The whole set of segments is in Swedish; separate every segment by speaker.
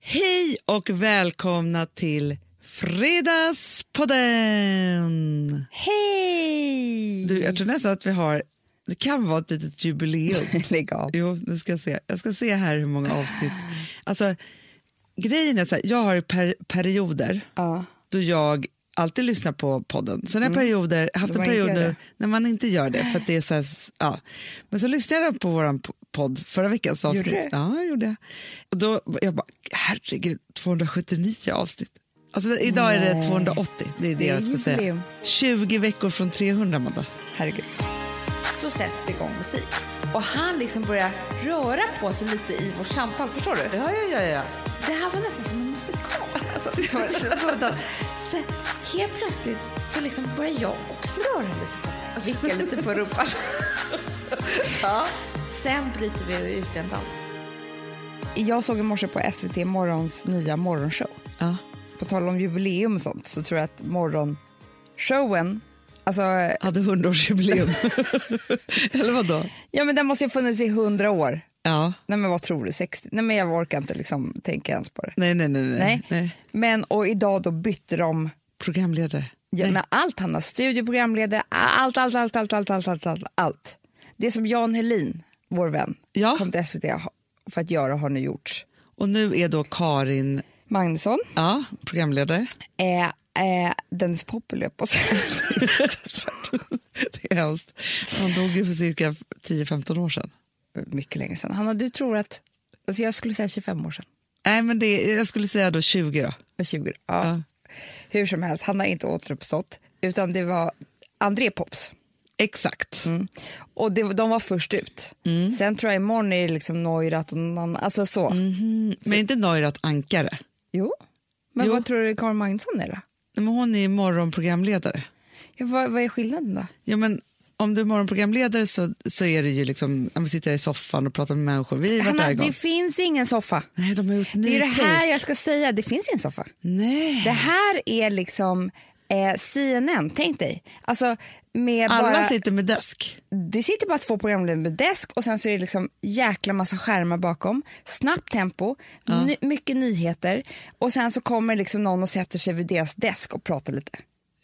Speaker 1: Hej och välkomna till Fredagspodden!
Speaker 2: Hej!
Speaker 1: Du, jag tror nästan att vi har... Det kan vara ett litet jubileum.
Speaker 2: Lägg av.
Speaker 1: Jo, nu ska jag se. Jag ska se här hur många avsnitt. Alltså, grejen är så här, jag har per, perioder
Speaker 2: Ja.
Speaker 1: då jag alltid lyssnar på podden. Sen har jag perioder, haft en
Speaker 2: Då man inte
Speaker 1: period
Speaker 2: gör
Speaker 1: nu
Speaker 2: Mm.
Speaker 1: när
Speaker 2: det.
Speaker 1: man inte gör det. För att det är så här, s- ja. Men så lyssnade jag på vår podd förra veckans avsnitt.
Speaker 2: du?
Speaker 1: Ja, jag gjorde jag. Och då, jag bara, herregud, 279 avsnitt. Alltså, idag är det 280, det är det,
Speaker 2: Det är
Speaker 1: jag ska säga.
Speaker 2: jubileum.
Speaker 1: 20 veckor från 300, Amanda.
Speaker 2: Herregud. Så sätts igång musik. Och han liksom börjar röra på sig lite i vårt samtal. Förstår du?
Speaker 1: Ja, ja, ja. ja.
Speaker 2: Det här var nästan som en musikal. Alltså, det var liksom så- så helt plötsligt så liksom börjar jag också röra lite på mig. Alltså, Vicka lite på rumpan. ja. Sen bryter vi ut en dans. Jag såg i morse på SVT Morgons nya morgonshow.
Speaker 1: ja.
Speaker 2: På tal om jubileum och sånt så tror jag att morgonshowen, alltså,
Speaker 1: Hade 100-årsjubileum. Eller vadå?
Speaker 2: ja men den måste ju ha funnits i hundra år.
Speaker 1: Ja.
Speaker 2: Nej men vad tror du, 60? Nej men jag orkar inte liksom tänka ens på det.
Speaker 1: Nej, nej, nej. nej.
Speaker 2: Nej. Men och idag då bytte de
Speaker 1: Programledare.
Speaker 2: ja, med allt, Hanna, studioprogramledare, allt, allt, allt, allt, allt, allt, allt, allt, allt. Det som Jan Helin, vår vän,
Speaker 1: Ja.
Speaker 2: kom till SVT för att göra har nu gjorts.
Speaker 1: Och nu är då Karin
Speaker 2: Magnusson,
Speaker 1: Ja, programledare.
Speaker 2: eh, eh, Dennis Poppel på
Speaker 1: Det är hemskt. Han dog ju för cirka 10-15 år sedan.
Speaker 2: mycket länge sedan. Hanna, du tror att... Alltså jag skulle säga 25 år sedan.
Speaker 1: Nej, men det, jag skulle säga då 20 då.
Speaker 2: Med 20. Ja.
Speaker 1: Ja.
Speaker 2: Hur som helst, han har inte återuppstått, utan det var André Pops.
Speaker 1: Exakt.
Speaker 2: Mm. Och det, de var först ut. Sen tror jag imorgon är det liksom Neurath och någon annan. Alltså så.
Speaker 1: Mm, Men inte Neurath Ankare.
Speaker 2: Jo. Men
Speaker 1: Jo.
Speaker 2: vad tror du Karin Magnusson är då?
Speaker 1: Nej, Men hon är ju morgonprogramledare.
Speaker 2: Ja, vad, vad är skillnaden då?
Speaker 1: Ja, men om du är morgonprogramledare så, så är det ju liksom, när vi sitter här i soffan och pratar med människor. Vi har ju varit
Speaker 2: Hanna,
Speaker 1: där
Speaker 2: det
Speaker 1: igång.
Speaker 2: finns ingen soffa.
Speaker 1: Nej, de har gjort ny
Speaker 2: Det är det här
Speaker 1: take.
Speaker 2: jag ska säga, det finns ingen soffa.
Speaker 1: Nej.
Speaker 2: Det här är liksom eh, CNN, tänk dig. Alltså, med
Speaker 1: Alla
Speaker 2: bara...
Speaker 1: sitter med desk.
Speaker 2: det sitter bara två programledare med desk och sen så är det liksom jäkla massa skärmar bakom. Snabbt tempo, ny, mycket nyheter och sen så kommer liksom någon och sätter sig vid deras desk och pratar lite.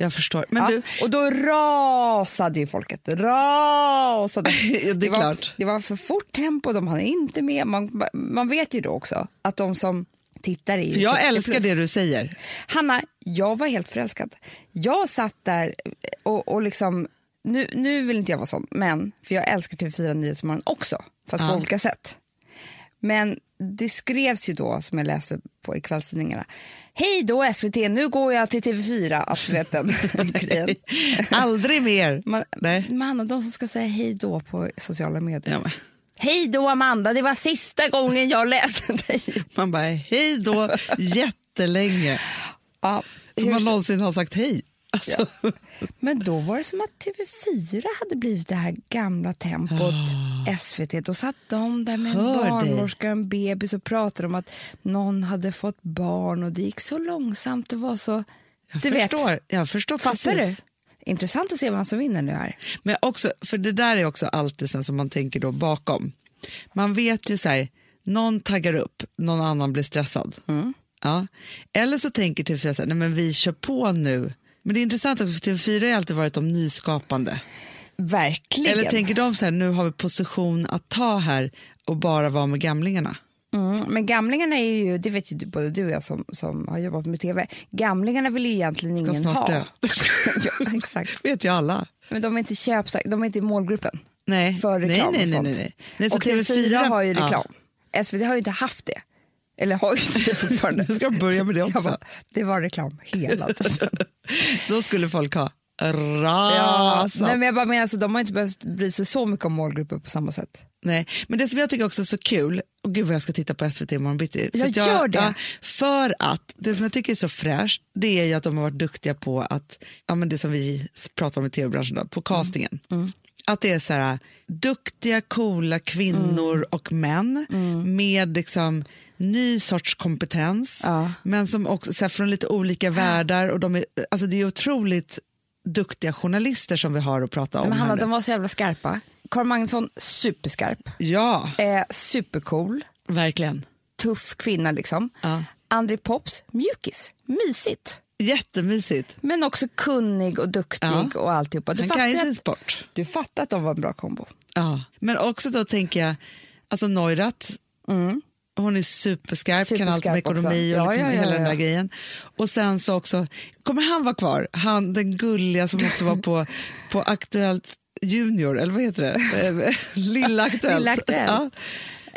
Speaker 1: Jag förstår. Men
Speaker 2: Ja,
Speaker 1: du,
Speaker 2: Och då rasade ju folket. Rasade.
Speaker 1: Ja, det är
Speaker 2: var,
Speaker 1: klart.
Speaker 2: Det var för fort tempo, de hann inte med. Man, man vet ju då också att de som tittar är ju
Speaker 1: för jag
Speaker 2: 60
Speaker 1: älskar
Speaker 2: plus.
Speaker 1: det du säger.
Speaker 2: Hanna, jag var helt förälskad. Jag satt där och, och liksom, nu, nu vill inte jag vara sån, men, för jag älskar TV4 Nyhetsmorgon också, fast på olika sätt. Men det skrevs ju då, som jag läste på i kvällstidningarna, hej då SVT, nu går jag till TV4. Alltså, du vet den grejen.
Speaker 1: Aldrig mer.
Speaker 2: Man,
Speaker 1: Nej.
Speaker 2: men Hanna, de som ska säga hej då på sociala medier.
Speaker 1: Ja, men.
Speaker 2: Hej då Amanda, det var sista gången jag läste dig.
Speaker 1: Man bara, hej då, jättelänge.
Speaker 2: Ja,
Speaker 1: Som
Speaker 2: hur
Speaker 1: man
Speaker 2: så-
Speaker 1: någonsin har sagt hej. Alltså,
Speaker 2: Men då var det som att TV4 hade blivit det här gamla tempot SVT. Då satt de där med en
Speaker 1: Ah. Hör dig.
Speaker 2: barnmorska och en bebis och pratade om att någon hade fått barn och det gick så långsamt. Det var så...
Speaker 1: jag,
Speaker 2: du
Speaker 1: förstår,
Speaker 2: vet,
Speaker 1: jag förstår
Speaker 2: fattar du?
Speaker 1: precis.
Speaker 2: Intressant att se vem som vinner nu här.
Speaker 1: Men också, för det där är också alltid sen som man tänker då bakom. Man vet ju så här, någon taggar upp, någon annan blir stressad.
Speaker 2: Mm.
Speaker 1: Ja. Eller så tänker TV4 så här, nej men vi kör på nu. Men det är intressant också, för TV4 har ju alltid varit om nyskapande.
Speaker 2: Verkligen.
Speaker 1: Eller tänker de så här, nu har vi position att ta här och bara vara med gamlingarna.
Speaker 2: Mm, men gamlingarna är ju, det vet ju du- både du och jag som, som har jobbat med TV, gamlingarna vill ju egentligen
Speaker 1: Ska
Speaker 2: ingen
Speaker 1: snart
Speaker 2: ha.
Speaker 1: dö.
Speaker 2: ja, exakt.
Speaker 1: vet ju alla.
Speaker 2: Men de är inte köpstarka, de är inte i målgruppen.
Speaker 1: Nej,
Speaker 2: för
Speaker 1: nej,
Speaker 2: reklam
Speaker 1: nej,
Speaker 2: och
Speaker 1: nej,
Speaker 2: sånt.
Speaker 1: nej, nej. Nej, så
Speaker 2: och
Speaker 1: TV4
Speaker 2: TV4, har ju reklam. SVT har ju inte haft det. Eller har ju inte det fortfarande.
Speaker 1: Nu ska jag börja med det också.
Speaker 2: Jag bara, det var reklam hela tiden.
Speaker 1: Då skulle folk ha
Speaker 2: ja,
Speaker 1: rasat.
Speaker 2: nej, men jag bara menar, alltså, de har inte behövt bry sig så mycket om målgrupper på samma sätt.
Speaker 1: Nej, men det som jag tycker också är så kul, och gud vad jag ska titta på SVT imorgon bitti. För
Speaker 2: Ja,
Speaker 1: att
Speaker 2: gör det.
Speaker 1: för att det som jag tycker är så fräscht, det är ju att de har varit duktiga på att, ja men det som vi pratar om i tv-branschen då, på castingen.
Speaker 2: Mm,
Speaker 1: Att det är så här, duktiga, coola kvinnor
Speaker 2: Mm.
Speaker 1: och män med liksom ny sorts kompetens,
Speaker 2: Ja.
Speaker 1: men som också, så här, från lite olika världar och de är, alltså det är otroligt duktiga journalister som vi har att prata om
Speaker 2: Men
Speaker 1: här
Speaker 2: Hanna,
Speaker 1: nu.
Speaker 2: de var så jävla skarpa. Carl Magnusson, superskarp.
Speaker 1: Ja,
Speaker 2: Eh, supercool.
Speaker 1: verkligen.
Speaker 2: tuff kvinna liksom.
Speaker 1: Ja.
Speaker 2: André Pops, mjukis, mysigt.
Speaker 1: Jättemysigt.
Speaker 2: Men också kunnig och duktig
Speaker 1: Ja.
Speaker 2: och alltihopa. Du
Speaker 1: Han kan ju
Speaker 2: fattar,
Speaker 1: sin
Speaker 2: att,
Speaker 1: sport.
Speaker 2: du fattar att de var en bra kombo.
Speaker 1: Ja. Men också då tänker jag, alltså Neurath, hon är superskarp, kan allt om
Speaker 2: Mm. Superskarp också.
Speaker 1: ekonomi och
Speaker 2: Ja,
Speaker 1: liksom
Speaker 2: ja, ja,
Speaker 1: hela den där
Speaker 2: ja.
Speaker 1: grejen. Och sen så också, kommer han vara kvar? Han den gulliga som också var på, på Aktuellt Junior, eller vad heter det? Eh, Lilla Aktuellt.
Speaker 2: Lilla Aktuellt.
Speaker 1: Ja.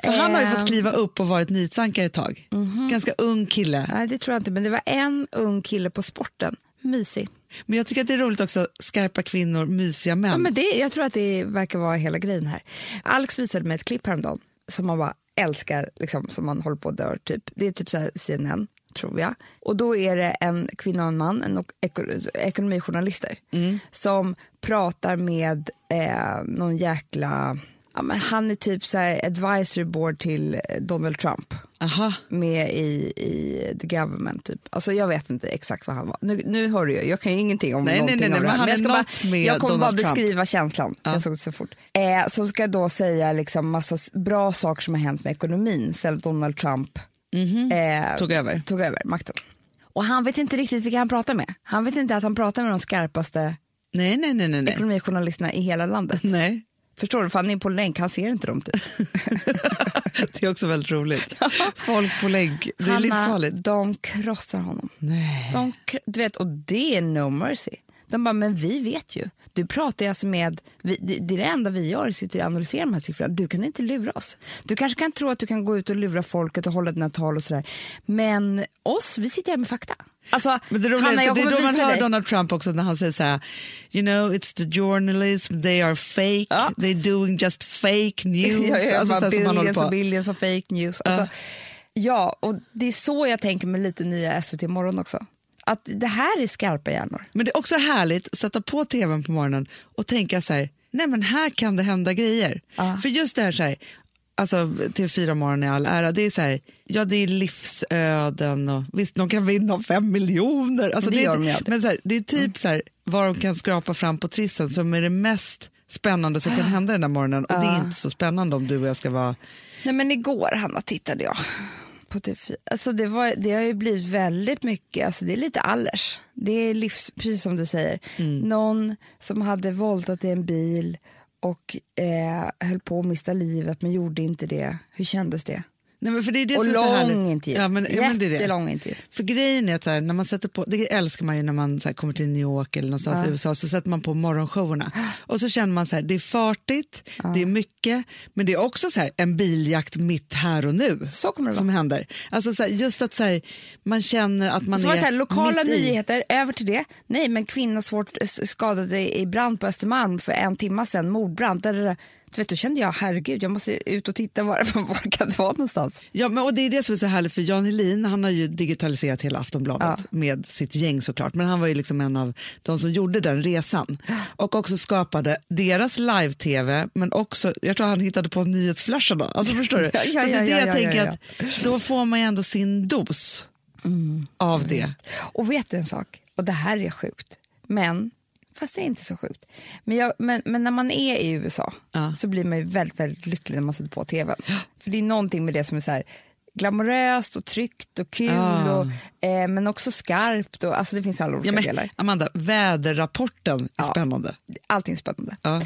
Speaker 1: För han har ju fått
Speaker 2: Ehm. Mhm.
Speaker 1: kliva upp och varit nyhetsankare ett tag. Ganska ung kille.
Speaker 2: Nej, det tror jag inte, men det var en ung kille på sporten. Mysig.
Speaker 1: Men jag tycker att det är roligt också, skarpa kvinnor, mysiga män.
Speaker 2: Ja, men det, jag tror att det verkar vara hela grejen här. Alex visade mig ett klipp häromdagen som man bara älskar, liksom, som man håller på och dör. Typ. Det är typ så här CNN, tror jag. Och då är det en kvinna och en man, en ok- eko- ekonomijournalister, som pratar med eh, någon jäkla... Ja, men han är typ så här advisory board till eh, Donald Trump
Speaker 1: Aha.
Speaker 2: med i, i the government. Typ. Alltså, jag vet inte exakt vad han var. Nu, nu hör du ju, jag kan ju ingenting om
Speaker 1: Nej, nej,
Speaker 2: någonting
Speaker 1: nej, nej,
Speaker 2: om det
Speaker 1: men
Speaker 2: här.
Speaker 1: han
Speaker 2: jag,
Speaker 1: är
Speaker 2: ska bara,
Speaker 1: något med
Speaker 2: jag kommer
Speaker 1: Donald
Speaker 2: bara
Speaker 1: Trump.
Speaker 2: beskriva känslan. Jag såg det så fort. Eh, som ska då säga liksom massa s- bra saker som har hänt med ekonomin sen Donald Trump eh,
Speaker 1: Tog över.
Speaker 2: tog över makten. Och han vet inte riktigt vilka han pratar med. Han vet inte att han pratar med de skarpaste
Speaker 1: Nej, nej, nej, nej. nej.
Speaker 2: ekonomijournalisterna i hela landet.
Speaker 1: nej.
Speaker 2: Förstår du? För han är på länk, han ser inte dem typ.
Speaker 1: Det är också väldigt roligt. Folk på länk, det är
Speaker 2: Hanna,
Speaker 1: livsfarligt.
Speaker 2: de krossar honom.
Speaker 1: Nej.
Speaker 2: De, kr- du vet, och det är no mercy. De bara, men vi vet ju. Du pratar ju alltså med, vi, det, det är det enda vi gör, sitter och analyserar de här siffrorna. Du kan inte lura oss. Du kanske kan tro att du kan gå ut och lura folket och hålla dina tal och sådär. Men oss, vi sitter här med fakta. Alltså,
Speaker 1: Men det roliga
Speaker 2: Hanna,
Speaker 1: är, för
Speaker 2: jag
Speaker 1: det är
Speaker 2: kommer
Speaker 1: då man
Speaker 2: visa
Speaker 1: hör
Speaker 2: dig.
Speaker 1: Donald Trump också när han säger så här, you know it's the journalism, they are fake,
Speaker 2: Ja.
Speaker 1: they're doing just fake news.
Speaker 2: Ja, ja,
Speaker 1: alltså,
Speaker 2: bara
Speaker 1: så här, som han håller
Speaker 2: billions och
Speaker 1: på.
Speaker 2: billions och fake news. Alltså, Ja, och det är så jag tänker med lite nya SVT Morgon också. Att det här är skarpa hjärnor.
Speaker 1: Men det är också härligt att sätta på tvn på morgonen och tänka så här, nej men här kan det hända grejer. För just det här så här, alltså TV4 Morgon i all ära, det är så här, ja det är livsöden och visst de kan vinna fem miljoner. Alltså,
Speaker 2: Det
Speaker 1: är
Speaker 2: gör
Speaker 1: inte-
Speaker 2: de ju alltid.
Speaker 1: Men så här, det är typ så här, vad de kan skrapa fram på trissen som är det mest spännande som kan hända den här morgonen och det är inte så spännande om du och jag ska vara
Speaker 2: Nej men igår Hanna tittade jag på TV4. Alltså det, var, det har ju blivit väldigt mycket, alltså det är lite allers. Det är livs, precis som du säger,
Speaker 1: Mm.
Speaker 2: någon som hade voltat i en bil och eh, höll på att mista livet men gjorde inte det. Hur kändes det?
Speaker 1: Nej, men för det är det
Speaker 2: och
Speaker 1: som är så
Speaker 2: lång
Speaker 1: härligt.
Speaker 2: intervju.
Speaker 1: Ja, men, ja, men det är det.
Speaker 2: Jättelång intervju.
Speaker 1: För grejen är att så här, när man sätter på, det älskar man ju när man så här, kommer till New York eller någonstans i USA, så sätter man på morgonshowerna och så känner man så här, det är fartigt, det är mycket, men det är också så här, en biljakt mitt här och nu
Speaker 2: Så kommer det vara.
Speaker 1: som händer. Alltså så här, just att så här, man känner att man
Speaker 2: Så
Speaker 1: är
Speaker 2: var det så här, lokala
Speaker 1: mitt i.
Speaker 2: nyheter, över till det. Nej, men kvinna svårt eh, skadad i i brand på Östermalm för en timma sedan, mordbrand. Där, där, där. Du vet, då kände jag, herregud, jag måste ut och titta var, var kan det vara någonstans.
Speaker 1: Ja, men, och det är det som är så härligt för Jan Helin, han har ju digitaliserat hela Aftonbladet med sitt gäng såklart, men han var ju liksom en av de som gjorde den resan och också skapade deras live-tv, men också, jag tror han hittade på nyhetsflasharna, alltså förstår du?
Speaker 2: Ja, ja,
Speaker 1: så det är
Speaker 2: ja,
Speaker 1: det
Speaker 2: ja,
Speaker 1: jag
Speaker 2: ja,
Speaker 1: tänker
Speaker 2: ja, Mm.
Speaker 1: att då får man ju ändå sin dos av det.
Speaker 2: Och vet du en sak? Och det här är sjukt. Men, fast det är inte så sjukt. Men, jag, men, men när man är i USA
Speaker 1: Ja.
Speaker 2: så blir man ju väldigt, väldigt lycklig när man sätter på tvn. För det är någonting med det som är så här glamoröst och tryggt och kul
Speaker 1: Ja.
Speaker 2: och, eh, men också skarpt. Och, alltså det finns alla olika
Speaker 1: Ah. Ja, men,
Speaker 2: delar.
Speaker 1: Amanda, väderrapporten är spännande.
Speaker 2: Allting är spännande.
Speaker 1: Ja.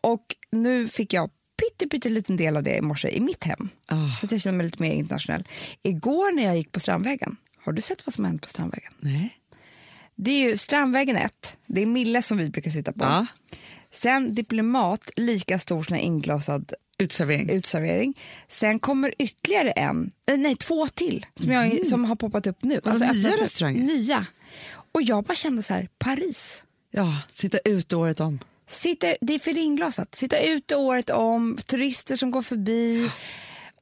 Speaker 2: Och nu fick jag pytte, pytte liten del av det i morse i mitt hem.
Speaker 1: Ah.
Speaker 2: Så att jag känner mig lite mer internationell. Igår när jag gick på Strandvägen, har du sett vad som har hänt på Strandvägen?
Speaker 1: Nej.
Speaker 2: Det är ju Strandvägen 1, det är Mille som vi brukar sitta på.
Speaker 1: Ja.
Speaker 2: Sen Diplomat, lika stor som en inglasad
Speaker 1: Utservering.
Speaker 2: utservering. Sen kommer ytterligare en, eh, nej två till som, jag, som har poppat upp nu.
Speaker 1: Mhm.
Speaker 2: Alltså,
Speaker 1: nya
Speaker 2: öppnat upp.
Speaker 1: restauranger?
Speaker 2: Nya. Och jag bara kände så här, Paris.
Speaker 1: Ja, sitta ute året om.
Speaker 2: Sitta, det är för inglasat. Sitta ute året om, turister som går förbi.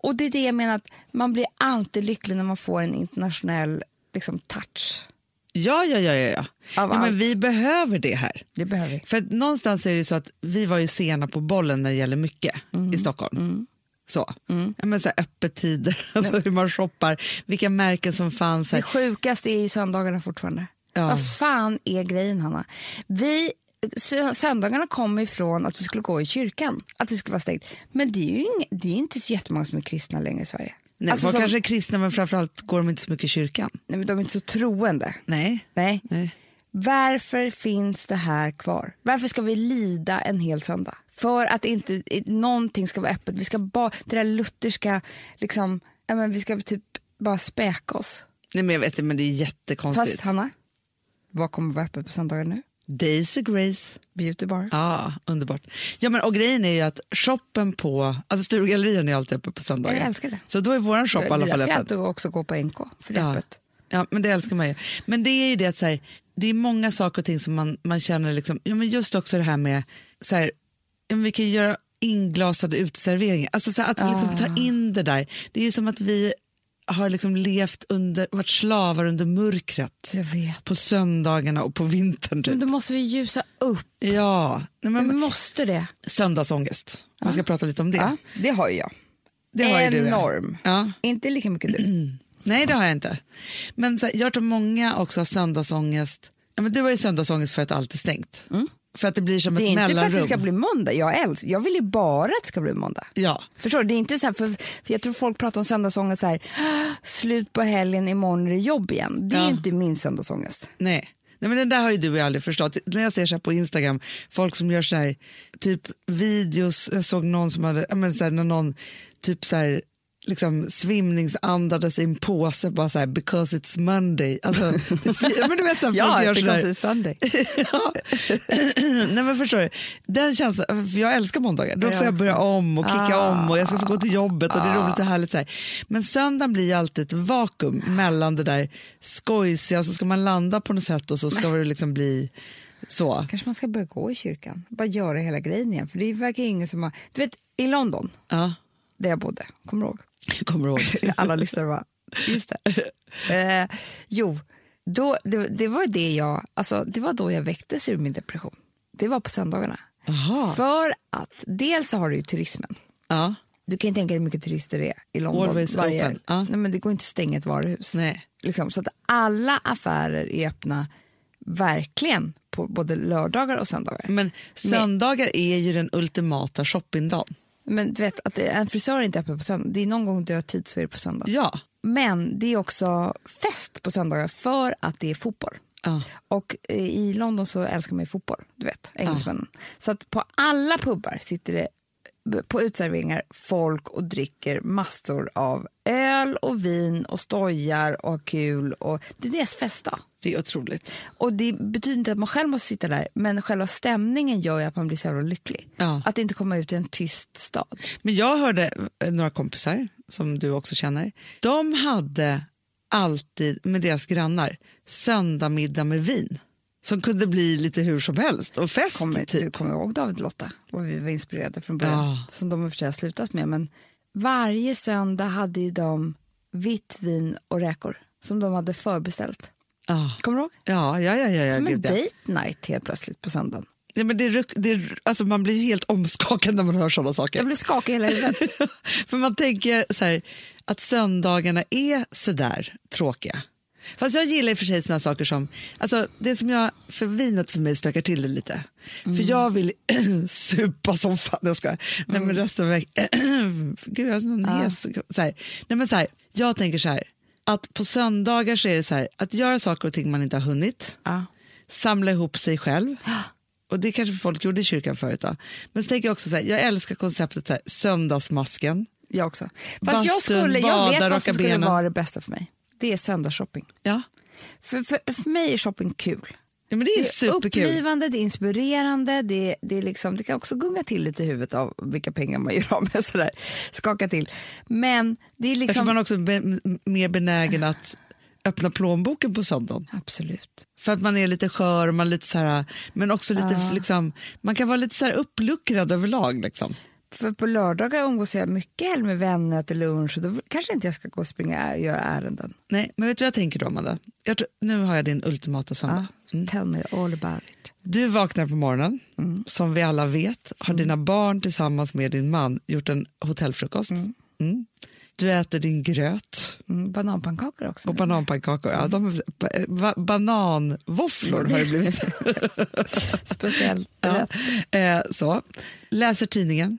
Speaker 2: Och det är det jag menar, att man blir alltid lycklig när man får en internationell liksom, touch.
Speaker 1: Ja, ja, ja, ja. ja.
Speaker 2: Av
Speaker 1: ja men
Speaker 2: allt.
Speaker 1: vi behöver det här.
Speaker 2: Det behöver vi.
Speaker 1: För att någonstans är det ju så att vi var ju sena på bollen när det gäller mycket i Stockholm.
Speaker 2: Mm.
Speaker 1: Så. Ja, men så här öppettider, alltså hur man shoppar, vilka märken som fanns.
Speaker 2: Det
Speaker 1: Här.
Speaker 2: sjukaste är ju söndagarna fortfarande.
Speaker 1: Ja.
Speaker 2: Vad fan är grejen, Hanna? Vi, sö- söndagarna kom ifrån att vi skulle gå i kyrkan, att det skulle vara stängt. Men det är ju ing, det är inte så jättemånga som är kristna längre i Sverige.
Speaker 1: Nej,
Speaker 2: Alltså
Speaker 1: de
Speaker 2: som-
Speaker 1: kanske är kristna men framförallt går de inte så mycket i kyrkan.
Speaker 2: Nej, men de är inte så troende.
Speaker 1: Nej.
Speaker 2: Nej.
Speaker 1: Nej.
Speaker 2: Varför finns det här kvar? Varför ska vi lida en hel söndag? För att inte i- någonting ska vara öppet. Vi ska bara, det där lutherska, liksom, ja, men vi ska typ bara späka oss.
Speaker 1: Nej men jag vet det, men det är jättekonstigt.
Speaker 2: Fast Hanna, vad kommer vara öppet på söndagar nu?
Speaker 1: Daisy Grace.
Speaker 2: Beauty bar.
Speaker 1: Ja, underbart. Ja, men, och grejen är ju att shoppen på, alltså Sturegallerian är alltid öppen på söndagar.
Speaker 2: Jag älskar det.
Speaker 1: Så då är våran shop i alla fall
Speaker 2: öppet.
Speaker 1: öppen.
Speaker 2: Jag också gå på NK, för det är
Speaker 1: Ja.
Speaker 2: öppet.
Speaker 1: ja, men det älskar man ju. Men det är ju det att så här, det är många saker och ting som man, man känner liksom, ja men just också det här med så här, ja, men vi kan ju göra inglasade uteserveringar. Alltså så här, att liksom ta in det där. Det är ju som att vi har liksom levt under, varit slavar under mörkret
Speaker 2: Jag vet.
Speaker 1: på söndagarna och på vintern.
Speaker 2: Men
Speaker 1: Typ.
Speaker 2: då måste vi ljusa upp.
Speaker 1: Ja, nej,
Speaker 2: Vi
Speaker 1: men,
Speaker 2: måste det.
Speaker 1: söndagsångest. Man ska prata lite om det.
Speaker 2: Ja, det har ju jag.
Speaker 1: Det har ju du, ja.
Speaker 2: Enorm.
Speaker 1: Ja.
Speaker 2: Inte lika mycket du.
Speaker 1: Nej, det har jag inte. Men så här, jag tror många också har söndagsångest. Ja, men du har ju söndagsångest för att allt är stängt. För att det blir som
Speaker 2: Mm. Det är
Speaker 1: ett
Speaker 2: inte för
Speaker 1: mellanrum.
Speaker 2: att det ska bli måndag. Jag, älsk, jag vill ju bara att det ska bli måndag.
Speaker 1: Ja.
Speaker 2: Förstår du? Det är inte så här, för, för jag tror folk pratar om söndagsångest så här, "Ah, slut på helgen, imorgon är det jobb igen. Det är
Speaker 1: Ja.
Speaker 2: inte min söndagsångest.
Speaker 1: Nej. Nej, men den där har ju du aldrig förstått. När jag ser så här på Instagram, folk som gör så här, typ videos, jag såg någon som hade, ja, men så här, när någon typ så här, liksom svimningsandades i en påse bara så här, because it's Monday. Alltså, det, ja, men du vet så här, folk gör så där.
Speaker 2: it's Sunday.
Speaker 1: Ja. Nej men förstår du, den känslan, för jag älskar måndagar, då får jag Ah. börja om och kicka om och jag ska få gå till jobbet och det är roligt och härligt så här. Men söndagen blir ju alltid ett vakuum mellan det där skojsiga och så ska man landa på något sätt och så ska det liksom bli så.
Speaker 2: Kanske man ska börja gå i kyrkan, bara göra hela grejen igen. För det verkar ju ingen som har... Du vet, i London,
Speaker 1: Ja,
Speaker 2: där jag bodde, kommer du ihåg?
Speaker 1: jag kommer ihåg.
Speaker 2: Alla lyssnare bara, just det. Eh, jo, då, det, det var det jag, alltså, det var då jag väcktes ur min depression. Det var på söndagarna.
Speaker 1: Jaha,
Speaker 2: För att dels så har du ju turismen.
Speaker 1: ja,
Speaker 2: Du kan ju tänka dig hur mycket turister det är i London.
Speaker 1: Always open, ja.
Speaker 2: Nej, men det går inte att stänga ett varuhus.
Speaker 1: nej,
Speaker 2: Liksom, så att alla affärer är öppna verkligen på både lördagar och söndagar.
Speaker 1: men söndagar är ju den ultimata shoppingdagen.
Speaker 2: Men du vet att det- en frisör är inte öppen på söndag. Det är någon gång du har tid så är det på söndag.
Speaker 1: Ja,
Speaker 2: Men det är också fest på söndagar för att det är fotboll.
Speaker 1: ja.
Speaker 2: Och eh, i London så älskar man ju fotboll, du vet, engelsmännen. Så att på alla pubbar sitter det b- på utserveringar folk och dricker massor av öl och vin och stojar och har kul. Och det är deras festdag.
Speaker 1: det är otroligt.
Speaker 2: Och det betyder inte att man själv måste sitta där, men själva stämningen gör ju att man blir så jävla lycklig.
Speaker 1: Ja.
Speaker 2: Att inte komma ut i en tyst stad.
Speaker 1: Men jag hörde eh, några kompisar som du också känner. De hade alltid med deras grannar söndagmiddag med vin som kunde bli lite hur som helst och fest
Speaker 2: Kommer, Du
Speaker 1: typ.
Speaker 2: kommer ihåg David och Lotta, vad vi var inspirerade från början,
Speaker 1: Ja.
Speaker 2: som de i och för sig har slutat med. Men varje söndag hade ju de vitt vin och räkor som de hade förbeställt.
Speaker 1: Ja,
Speaker 2: Kommer du ihåg?
Speaker 1: ja, ja, ja, ja, ja,
Speaker 2: Som en
Speaker 1: gud, ja.
Speaker 2: date night helt plötsligt på söndagen.
Speaker 1: ja men det, ruck- det, är- alltså man blir ju helt omskakad när man hör sådana
Speaker 2: Jag
Speaker 1: saker.
Speaker 2: blev skakig i hela huvudet.
Speaker 1: För man tänker så här, att söndagarna är sådär tråkiga. Fast jag gillar i och för sig såna saker som, alltså det som jag, för vinet för mig stökar till det lite. För jag vill supa som fan, jag ska. Nej men resten av veckan, gud jag har sån hes. Så här. Nej men så här, jag tänker så här, att på söndagar så är det så här, att göra saker och ting man inte har hunnit
Speaker 2: ja.
Speaker 1: samla ihop sig själv. Och det kanske folk gjorde i kyrkan förut. Då. Men så tänker jag också så här, jag älskar konceptet så här, söndagsmasken.
Speaker 2: Jag också. Fast jag,
Speaker 1: Bastun,
Speaker 2: skulle, jag
Speaker 1: bada,
Speaker 2: vet
Speaker 1: raka
Speaker 2: vad som skulle
Speaker 1: benen.
Speaker 2: vara det bästa för mig. Det är söndagsshopping.
Speaker 1: Ja.
Speaker 2: För, för, för mig är shopping kul.
Speaker 1: ja men det är, superkul.
Speaker 2: upplivande, det är inspirerande, det, det, är liksom, det kan också gunga till lite i huvudet av vilka pengar man gör av med. och Sådär. Skaka till. Men det är
Speaker 1: Jag tror
Speaker 2: liksom...
Speaker 1: man också är be- m- mer benägen att öppna plånboken på söndagen.
Speaker 2: Absolut.
Speaker 1: För att man är lite skör, och man är lite så här, men också lite, liksom, man kan vara lite så här uppluckrad överlag. Liksom.
Speaker 2: För på lördagar umgås jag mycket hellre med vänner till lunch och då kanske inte jag ska gå och springa och göra ärenden.
Speaker 1: Nej, men vet du vad jag tänker då, Amanda? Jag tror, nu har jag din ultimata söndag.
Speaker 2: Tell me Mm. all about it.
Speaker 1: Du vaknar på morgonen,
Speaker 2: Mm.
Speaker 1: som vi alla vet har dina barn tillsammans med din man gjort en hotellfrukost. Mm. Du äter din gröt
Speaker 2: Mm, bananpannkakor också.
Speaker 1: och bananpannkakor. Ja, de, ba, ba, bananvåfflor har det
Speaker 2: Mm.
Speaker 1: blivit.
Speaker 2: Speciellt.
Speaker 1: ja. eh, så. Läser tidningen,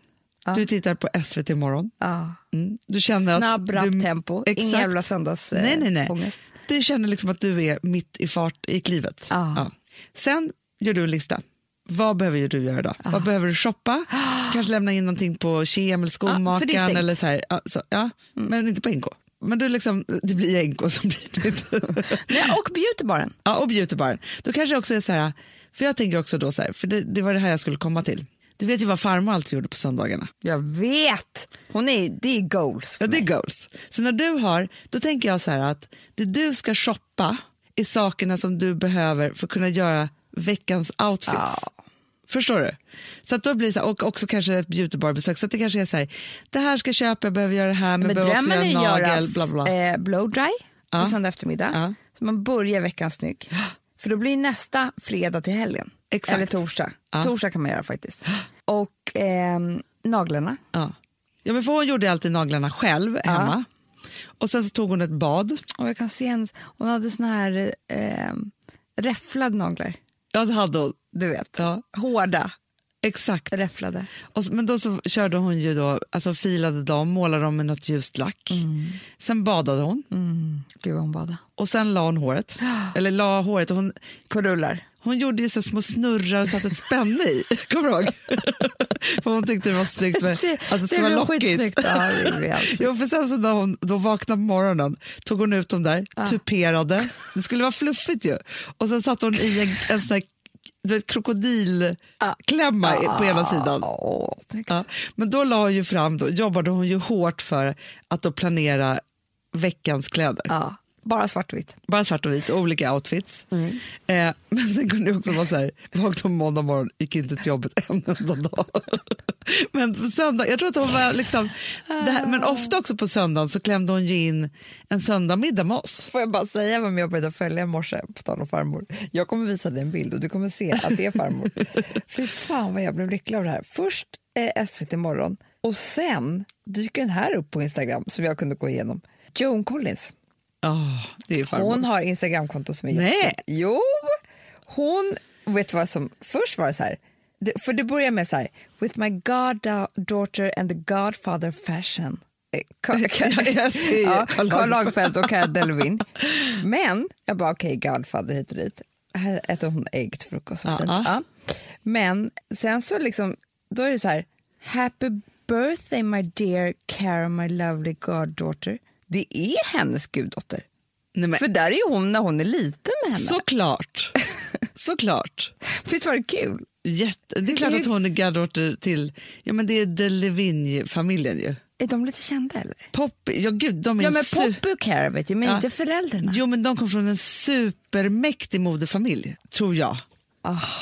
Speaker 1: Du tittar på SVT imorgon.
Speaker 2: Ja.
Speaker 1: Mm. Du känner
Speaker 2: Snabb,
Speaker 1: att
Speaker 2: rapp
Speaker 1: du,
Speaker 2: tempo.
Speaker 1: Exakt.
Speaker 2: Ingen jävla söndags eh,
Speaker 1: nej, nej, nej.
Speaker 2: ångest.
Speaker 1: Du känner liksom att du är mitt i fart i klivet.
Speaker 2: Ja.
Speaker 1: Sen gör du en lista. Vad behöver ju du göra idag? Vad behöver du shoppa? Kanske lämna in någonting på Kem eller
Speaker 2: Ah. Ja, för det
Speaker 1: skomakaren.
Speaker 2: är stängt. Mm.
Speaker 1: eller så här. Ja, så, ja. Men inte på NK. Men du liksom, det blir NK som blir det.
Speaker 2: Nej, och beautybaren.
Speaker 1: Ja, och beautybaren. Då kanske det också är så här, för jag tänker också då så här, för det, det var det här jag skulle komma till. Du vet ju vad farmor alltid gjorde på söndagarna.
Speaker 2: Jag vet! Hon är, det är goals.
Speaker 1: Ja, det är goals. Så när du har, då tänker jag så här att det du ska shoppa är sakerna som du behöver för att kunna göra veckans outfits. Förstår du? Så att då blir det så här, och också kanske ett beautybarbesök. Så att det kanske är så här, det här ska jag köpa, jag behöver göra det här, men,
Speaker 2: Men
Speaker 1: jag behöver
Speaker 2: drömmen
Speaker 1: också
Speaker 2: är
Speaker 1: göra
Speaker 2: att göra
Speaker 1: nagel, bla bla. bla.
Speaker 2: eh, blowdry
Speaker 1: Ja.
Speaker 2: på söndag eftermiddag.
Speaker 1: Ja.
Speaker 2: Så man börjar veckan snygg. För då blir nästa fredag till helgen.
Speaker 1: Exakt.
Speaker 2: Eller torsdag.
Speaker 1: Ja.
Speaker 2: Torsdag kan man göra faktiskt. Och ehm, naglarna.
Speaker 1: Ja. ja, men för hon gjorde alltid naglarna själv hemma. Och sen så tog hon ett bad.
Speaker 2: Och jag kan se hennes, hon hade såna här ehm, räfflade naglar.
Speaker 1: Ja, det hade hon.
Speaker 2: Du vet.
Speaker 1: Ja,
Speaker 2: Hårda,
Speaker 1: exakt.
Speaker 2: räfflade.
Speaker 1: Och, så- men då så körde hon ju då, alltså filade dem, målade dem med något ljust lack. Sen badade hon
Speaker 2: Gud vad hon badade.
Speaker 1: och sen la hon håret. Eller la håret och hon,
Speaker 2: På rullar.
Speaker 1: hon gjorde ju så här små snurrar och satte ett spänne i. Kommer du ihåg? för hon tyckte det var snyggt med, att det skulle vara
Speaker 2: blev
Speaker 1: lockigt.
Speaker 2: skitsnyggt. Ja, det blev alltså.
Speaker 1: Jo, för sen så när hon då vaknade på morgonen tog hon ut dem där, tuperade. Det skulle vara fluffigt ju. Och sen satte hon i en, en sån här du vet, krokodilklämma i- på ena sidan.
Speaker 2: Åh, snyggt.
Speaker 1: Ja, men då la hon ju fram, då jobbade hon ju hårt för att då planera veckans kläder.
Speaker 2: Ja, bara svartvitt.
Speaker 1: Bara svart och vit, olika outfits.
Speaker 2: Mm.
Speaker 1: Eh, men sen kunde det också vara så här, vaknade hon måndag morgon, gick inte till jobbet en enda dag. men på söndag, jag tror att hon var liksom, det här, men ofta också på söndagen så klämde hon ju in en söndagmiddag med oss.
Speaker 2: Får jag bara säga vem jag började följa i morse, på tal om farmor. Jag kommer visa dig en bild och du kommer se att det är farmor. Fy fan vad jag blev lycklig av det här. Först eh, SVT morgon och sen dyker den här upp på Instagram som jag kunde gå igenom. Joan Collins.
Speaker 1: Oh, det är farmor.
Speaker 2: Hon har Instagramkonto som är
Speaker 1: Nej.
Speaker 2: jättefint. Jo! Hon, vet du vad som, först var det så här, det, för det börjar med så här, with my goddaughter and the godfather fashion. Eh, Ka- Ka-
Speaker 1: jag ser
Speaker 2: ja,
Speaker 1: Karl
Speaker 2: Karl Lagerfeld och Cara Delevingne. Men jag bara okej, Godfather hit och dit. Här äter hon ägg till frukost. så fint.
Speaker 1: Ja.
Speaker 2: Ja. Men sen så liksom, då är det så här, happy birthday my dear Cara, my lovely goddaughter. Det är hennes guddotter.
Speaker 1: Nej, men,
Speaker 2: För där är ju hon när hon är liten med henne.
Speaker 1: såklart, såklart.
Speaker 2: Visst var det kul?
Speaker 1: Jätte, det är klart att hon är gardorter till, ja men det är de Levingne-familjen ju.
Speaker 2: Är de lite kända eller?
Speaker 1: Poppy, ja gud de är
Speaker 2: Ja
Speaker 1: en
Speaker 2: men
Speaker 1: su-
Speaker 2: Poppy och Cara vet jag, men
Speaker 1: Ja.
Speaker 2: inte föräldrarna.
Speaker 1: Jo men de kom från en supermäktig modefamilj, tror jag.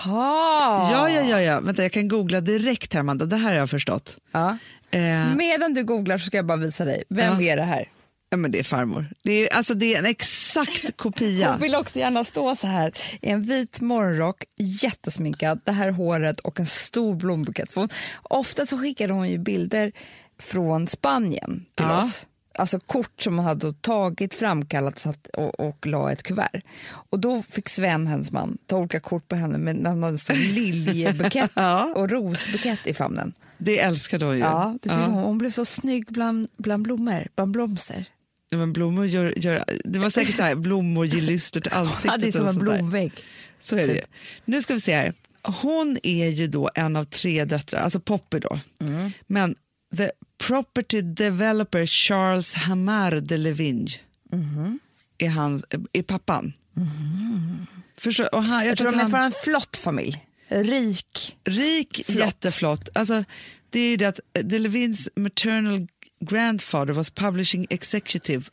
Speaker 2: Aha.
Speaker 1: Ja, ja, ja, ja, vänta jag kan googla direkt här Amanda, det här har jag förstått.
Speaker 2: Ja. Mm.
Speaker 1: Eh,
Speaker 2: Medan du googlar så ska jag bara visa dig. Vem är det här?
Speaker 1: ja men det är farmor. Det är, alltså det är en exakt kopia.
Speaker 2: Hon vill också gärna stå så här i en vit morgonrock, jättesminkad, det här håret och en stor blombukett. För hon, ofta så skickade hon ju bilder från Spanien till
Speaker 1: Ja.
Speaker 2: oss. Alltså kort som hon hade tagit, framkallat satt och, och la i ett kuvert. Och då fick Sven, hennes man, ta olika kort på henne med när hon hade en sån liljebukett
Speaker 1: Ja.
Speaker 2: och rosbukett i famnen.
Speaker 1: Det älskade hon ju.
Speaker 2: Ja, det tyckte hon. Hon blev så snygg bland, bland blommor, bland blomster.
Speaker 1: Ja, Men blommor gör, gör, det var säkert så här, blommor ger lyster till
Speaker 2: Ja,
Speaker 1: ansiktet.
Speaker 2: det är som
Speaker 1: och
Speaker 2: en
Speaker 1: sånt där.
Speaker 2: blomvägg.
Speaker 1: Så är det ju. Nu ska vi se här. Hon är ju då en av tre döttrar, alltså Poppy då.
Speaker 2: Mm.
Speaker 1: Men the property developer Charles Hamar de Levingne
Speaker 2: Mm-hmm.
Speaker 1: är, hans, är pappan. Förstår, och han, jag,
Speaker 2: Jag
Speaker 1: tror
Speaker 2: tror
Speaker 1: att
Speaker 2: de är
Speaker 1: han,
Speaker 2: från en flott familj. Rik.
Speaker 1: Rik, jätteflott. Alltså, det är ju det att de Levins maternal grandfather was publishing executive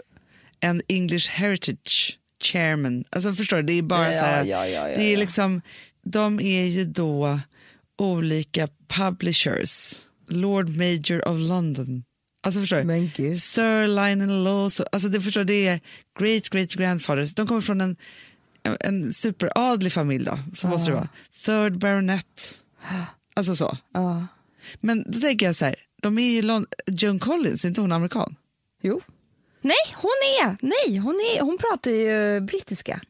Speaker 1: and English heritage chairman. Alltså förstår du, det är bara
Speaker 3: Eh,
Speaker 2: Ja,
Speaker 1: så här.
Speaker 2: ja, ja, ja,
Speaker 1: det är
Speaker 2: ja.
Speaker 1: liksom, de är ju då olika publishers. Lord Major of London. Alltså förstår du?
Speaker 2: Men gud.
Speaker 1: Sir Lionel Laws. Alltså det förstår du, det är great great grandfathers. De kommer från en, en superadlig familj då, så måste det vara. Third baronet. Alltså så.
Speaker 2: Ja.
Speaker 1: Men då tänker jag så här, de är ju Lon- Joan Collins, är inte hon amerikan?
Speaker 2: Jo. Nej, hon är! Nej, hon, är, hon pratar ju brittiska.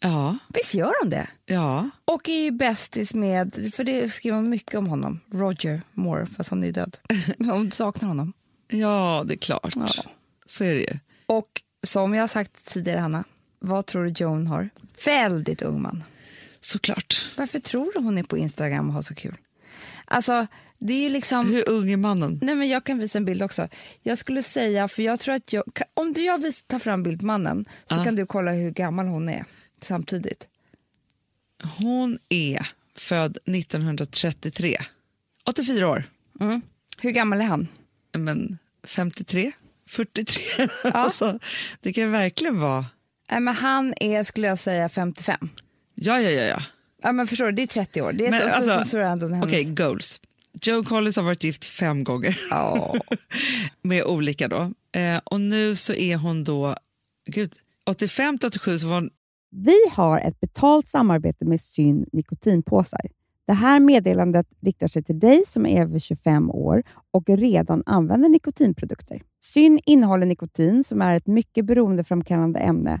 Speaker 1: Ja,
Speaker 3: eh, Visst gör hon det?
Speaker 1: ja.
Speaker 3: Och är ju bästis med, för det skriver man mycket om honom, Roger Moore, fast han är ju död. Hon saknar honom.
Speaker 1: ja det är klart.
Speaker 3: Ja.
Speaker 1: Så är det ju.
Speaker 3: Och som jag har sagt tidigare, Hanna, vad tror du Joan har? Väldigt ung man.
Speaker 1: Såklart.
Speaker 3: Varför tror du hon är på Instagram och har så kul? Alltså, det är ju liksom...
Speaker 1: Hur ung är mannen?
Speaker 3: Nej, men jag kan visa en bild också. Jag skulle säga, för jag tror att jag, ka- om du jag vis- tar fram bild på mannen så kan du kolla hur gammal hon är samtidigt.
Speaker 1: Hon är född 1933. 84 år.
Speaker 3: Mm. Hur gammal är han?
Speaker 1: Men 53? 43? alltså, det kan verkligen vara...
Speaker 3: Nej, men han är, skulle jag säga, 55.
Speaker 1: Ja, ja, ja. ja.
Speaker 3: Ja, men förstår du, det är 30 år. Det är
Speaker 1: Men
Speaker 3: så, så,
Speaker 1: alltså,
Speaker 3: så, så är han den hennes.
Speaker 1: Okej, goals. Joe Collins har varit gift fem gånger
Speaker 3: Ja.
Speaker 1: med olika då. Eh, och nu så är hon då, gud, 85 till 87 så var hon,
Speaker 2: Vi har ett betalt samarbete med Syn nikotinpåsar. Det här meddelandet riktar sig till dig som är över 25 år och redan använder nikotinprodukter. Syn innehåller nikotin som är ett mycket beroendeframkallande ämne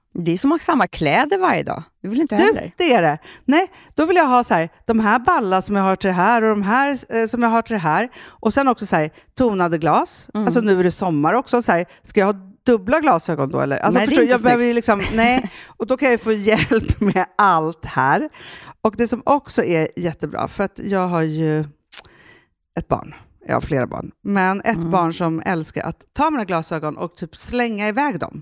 Speaker 2: Det är som att ha samma kläder varje dag. Det vill inte jag
Speaker 4: Du,
Speaker 2: heller.
Speaker 4: det är det. Nej, då vill jag ha så här, de här balla som jag har till det här och de här eh, som jag har till det här. Och sen också så här, tonade glas.
Speaker 2: Mm.
Speaker 4: Alltså nu är det sommar också. Så här, ska jag ha dubbla glasögon då eller? Alltså,
Speaker 2: Nej, det är
Speaker 4: förstår, du,
Speaker 2: inte
Speaker 4: jag behöver ju liksom, nej. Och då kan jag ju få hjälp med allt här. Och det som också är jättebra, för att jag har ju ett barn. Jag har flera barn. Men ett
Speaker 2: Mm.
Speaker 4: barn som älskar att ta mina glasögon och typ slänga iväg dem.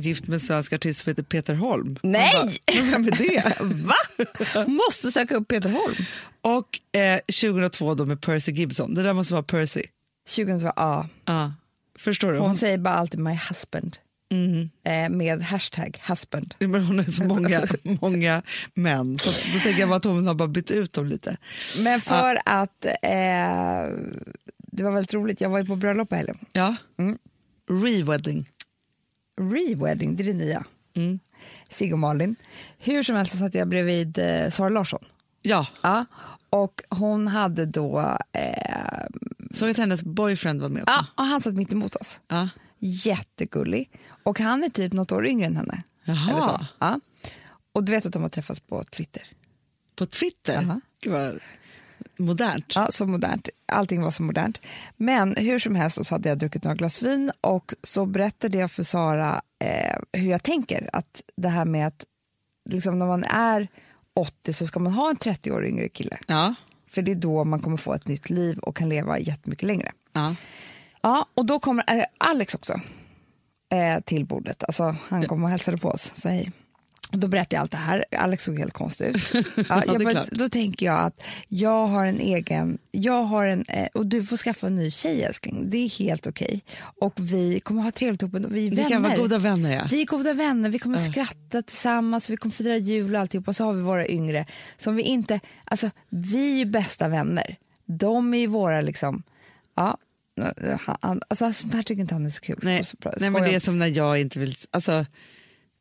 Speaker 1: Gift med en svensk artist som heter Peter Holm.
Speaker 2: Nej!
Speaker 1: Man bara, Men vem är det?
Speaker 2: Va? Måste söka upp Peter Holm.
Speaker 1: Och eh, 2002 då med Percy Gibson. Det där måste vara Percy.
Speaker 2: 2002, ja.
Speaker 1: Ja. Förstår du?
Speaker 2: Hon
Speaker 1: Hon, mm.
Speaker 2: säger bara alltid my husband eh, med hashtag husband.
Speaker 1: men hon har ju så många, många män. Så att då tänker jag bara att hon har bara bytt ut dem lite.
Speaker 2: Men för att eh, det var väldigt roligt, jag var ju på bröllop på helgen.
Speaker 1: Ja.
Speaker 2: Mm.
Speaker 1: Rewedding.
Speaker 2: Rewedding, det är det nya.
Speaker 1: Mm.
Speaker 2: Sigge och Malin. Hur som helst så satt jag bredvid eh, Sara Larsson.
Speaker 1: Ja,
Speaker 2: Ja. Och hon hade då... Eh,
Speaker 1: såg att hennes boyfriend var med också.
Speaker 2: ja, och han satt mitt emot oss.
Speaker 1: Ja.
Speaker 2: Jättegullig. Och han är typ något år yngre än henne.
Speaker 1: Jaha.
Speaker 2: Eller så. Ja. Och du vet att de har träffats på Twitter.
Speaker 1: På Twitter?
Speaker 2: Jaha.
Speaker 1: Gud vad modernt.
Speaker 2: Ja, så modernt. Allting var så modernt. Men hur som helst så hade jag druckit några glas vin och så berättade jag för Sara eh, hur jag tänker. Att det här med att liksom, när man är 80 så ska man ha en 30 år yngre kille.
Speaker 1: Ja.
Speaker 2: För det är då man kommer få ett nytt liv och kan leva jättemycket längre.
Speaker 1: Ja.
Speaker 2: Ja, och då kommer eh, Alex också eh, till bordet. Alltså, han kom och hälsade på oss. Så hej. Och Då berättade jag allt det här. Alex såg helt konstig ut. Ja,
Speaker 1: det är
Speaker 2: jag bara,
Speaker 1: klart.
Speaker 2: då tänker jag att jag har en egen... Jag har en, eh, och du får skaffa en ny tjej, älskling. Det är helt okej. Och vi kommer ha trevligt ihop. Vi är
Speaker 1: Vi
Speaker 2: vänner.
Speaker 1: kan vara goda vänner. Ja.
Speaker 2: Vi är goda vänner, vi kommer skratta tillsammans, vi kommer fira jul och alltihopa. Så har vi våra yngre som vi inte... Alltså, vi är ju bästa vänner. De är ju våra liksom... Ja, han, alltså, sånt här tycker inte han är så kul.
Speaker 1: Nej,
Speaker 2: Och så pra-
Speaker 1: nej men
Speaker 2: skojar.
Speaker 1: det är som när jag inte vill... Alltså,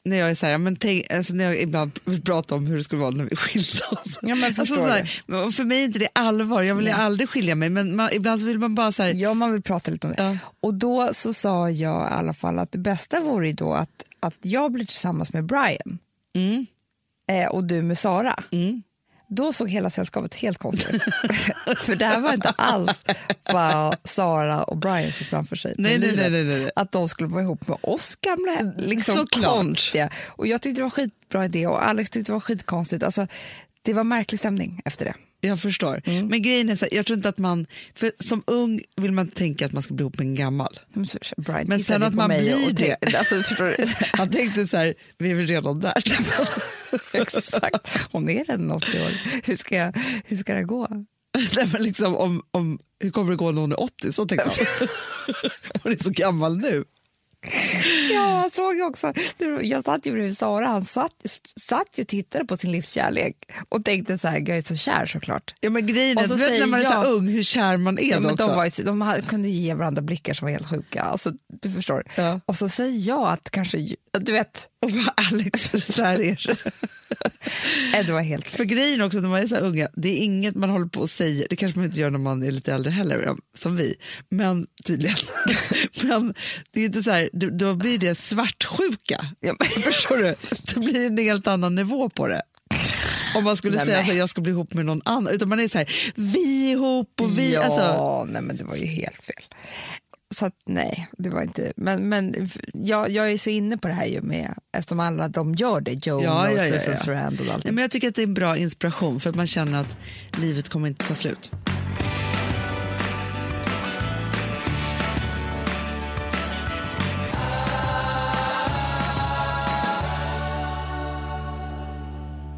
Speaker 1: när jag är så här, men tänk, alltså när jag ibland vill prata om hur det skulle vara när vi skilde oss. Alltså,
Speaker 2: Ja, men förstår
Speaker 1: så här, men för mig är inte det allvar, jag vill ju aldrig skilja mig, men man, ibland så vill man bara så här,
Speaker 2: Ja, man vill prata lite om det.
Speaker 1: Ja.
Speaker 2: Och då så sa jag i alla fall att det bästa vore ju då att, att jag blir tillsammans med Brian
Speaker 1: mm,
Speaker 2: eh, och du med Sara.
Speaker 1: mm.
Speaker 2: Då såg hela sällskapet helt konstigt ut. För det här var inte alls vad Sara och Brian såg framför sig. med
Speaker 1: Nej, nej,
Speaker 2: livet.
Speaker 1: nej, nej, nej.
Speaker 2: Att de skulle vara ihop med oss gamla liksom,
Speaker 1: Såklart.
Speaker 2: konstiga. Och jag tyckte det var skitbra idé och Alex tyckte det var skitkonstigt. Alltså, det var märklig stämning efter det.
Speaker 1: jag förstår.
Speaker 2: Mm.
Speaker 1: Men grejen är så här, jag tror inte att man, för som ung vill man tänka att man ska bli ihop med en gammal.
Speaker 2: Men så- så- Brian
Speaker 1: Men
Speaker 2: tittade
Speaker 1: sen att
Speaker 2: på
Speaker 1: man
Speaker 2: mig
Speaker 1: blir
Speaker 2: och tänkte-
Speaker 1: det.
Speaker 2: Alltså, förstår du?
Speaker 1: Han tänkte så här, vi är väl redan där.
Speaker 2: Exakt. Hon är redan 80 år. Hur ska, jag, hur ska det gå?
Speaker 1: Nej, men liksom, om, om, hur kommer det gå när hon är 80? Så tänkte han. hon är så gammal nu.
Speaker 2: Ja, jag såg ju också. det- Jag satt ju bredvid Sara. Han satt, satt ju och tittade på sin livskärlek och tänkte så här, jag är så kär såklart.
Speaker 1: Ja, men grejen
Speaker 2: Och
Speaker 1: är,
Speaker 2: så
Speaker 1: du vet
Speaker 2: säger
Speaker 1: när man är så här
Speaker 2: jag-
Speaker 1: ung, hur kär man är
Speaker 2: Ja,
Speaker 1: då
Speaker 2: men
Speaker 1: också.
Speaker 2: de, var ju, så- de hade, kunde ju ge varandra blickar som var helt sjuka. Alltså, du förstår.
Speaker 1: Ja.
Speaker 2: Och så säger jag att kanske, du vet,
Speaker 1: Och bara, Alex, så här är det.
Speaker 2: nej, det var helt fel.
Speaker 1: För grejen också när man är så här unga, det är inget man håller på och säger, det kanske man inte gör när man är lite äldre heller, ja, som vi, men tydligen. men det är inte så här, då- då blir det svartsjuka. Förstår du? Det blir en helt annan nivå på det. Om man skulle
Speaker 2: Nej,
Speaker 1: säga
Speaker 2: men.
Speaker 1: att jag ska bli ihop med någon annan, utan man är så här, vi är ihop och vi,
Speaker 2: ja,
Speaker 1: alltså,
Speaker 2: nej men det var ju helt fel. Så att, nej, det var inte... Men, men f- jag, jag är så inne på det här ju med, eftersom alla de gör det, Joan
Speaker 1: Ja,
Speaker 2: och
Speaker 1: ja, ja,
Speaker 2: Susan
Speaker 1: ja.
Speaker 2: Sarandon och allt
Speaker 1: Nej, men jag tycker att det är en bra inspiration för att man känner att livet kommer inte ta slut.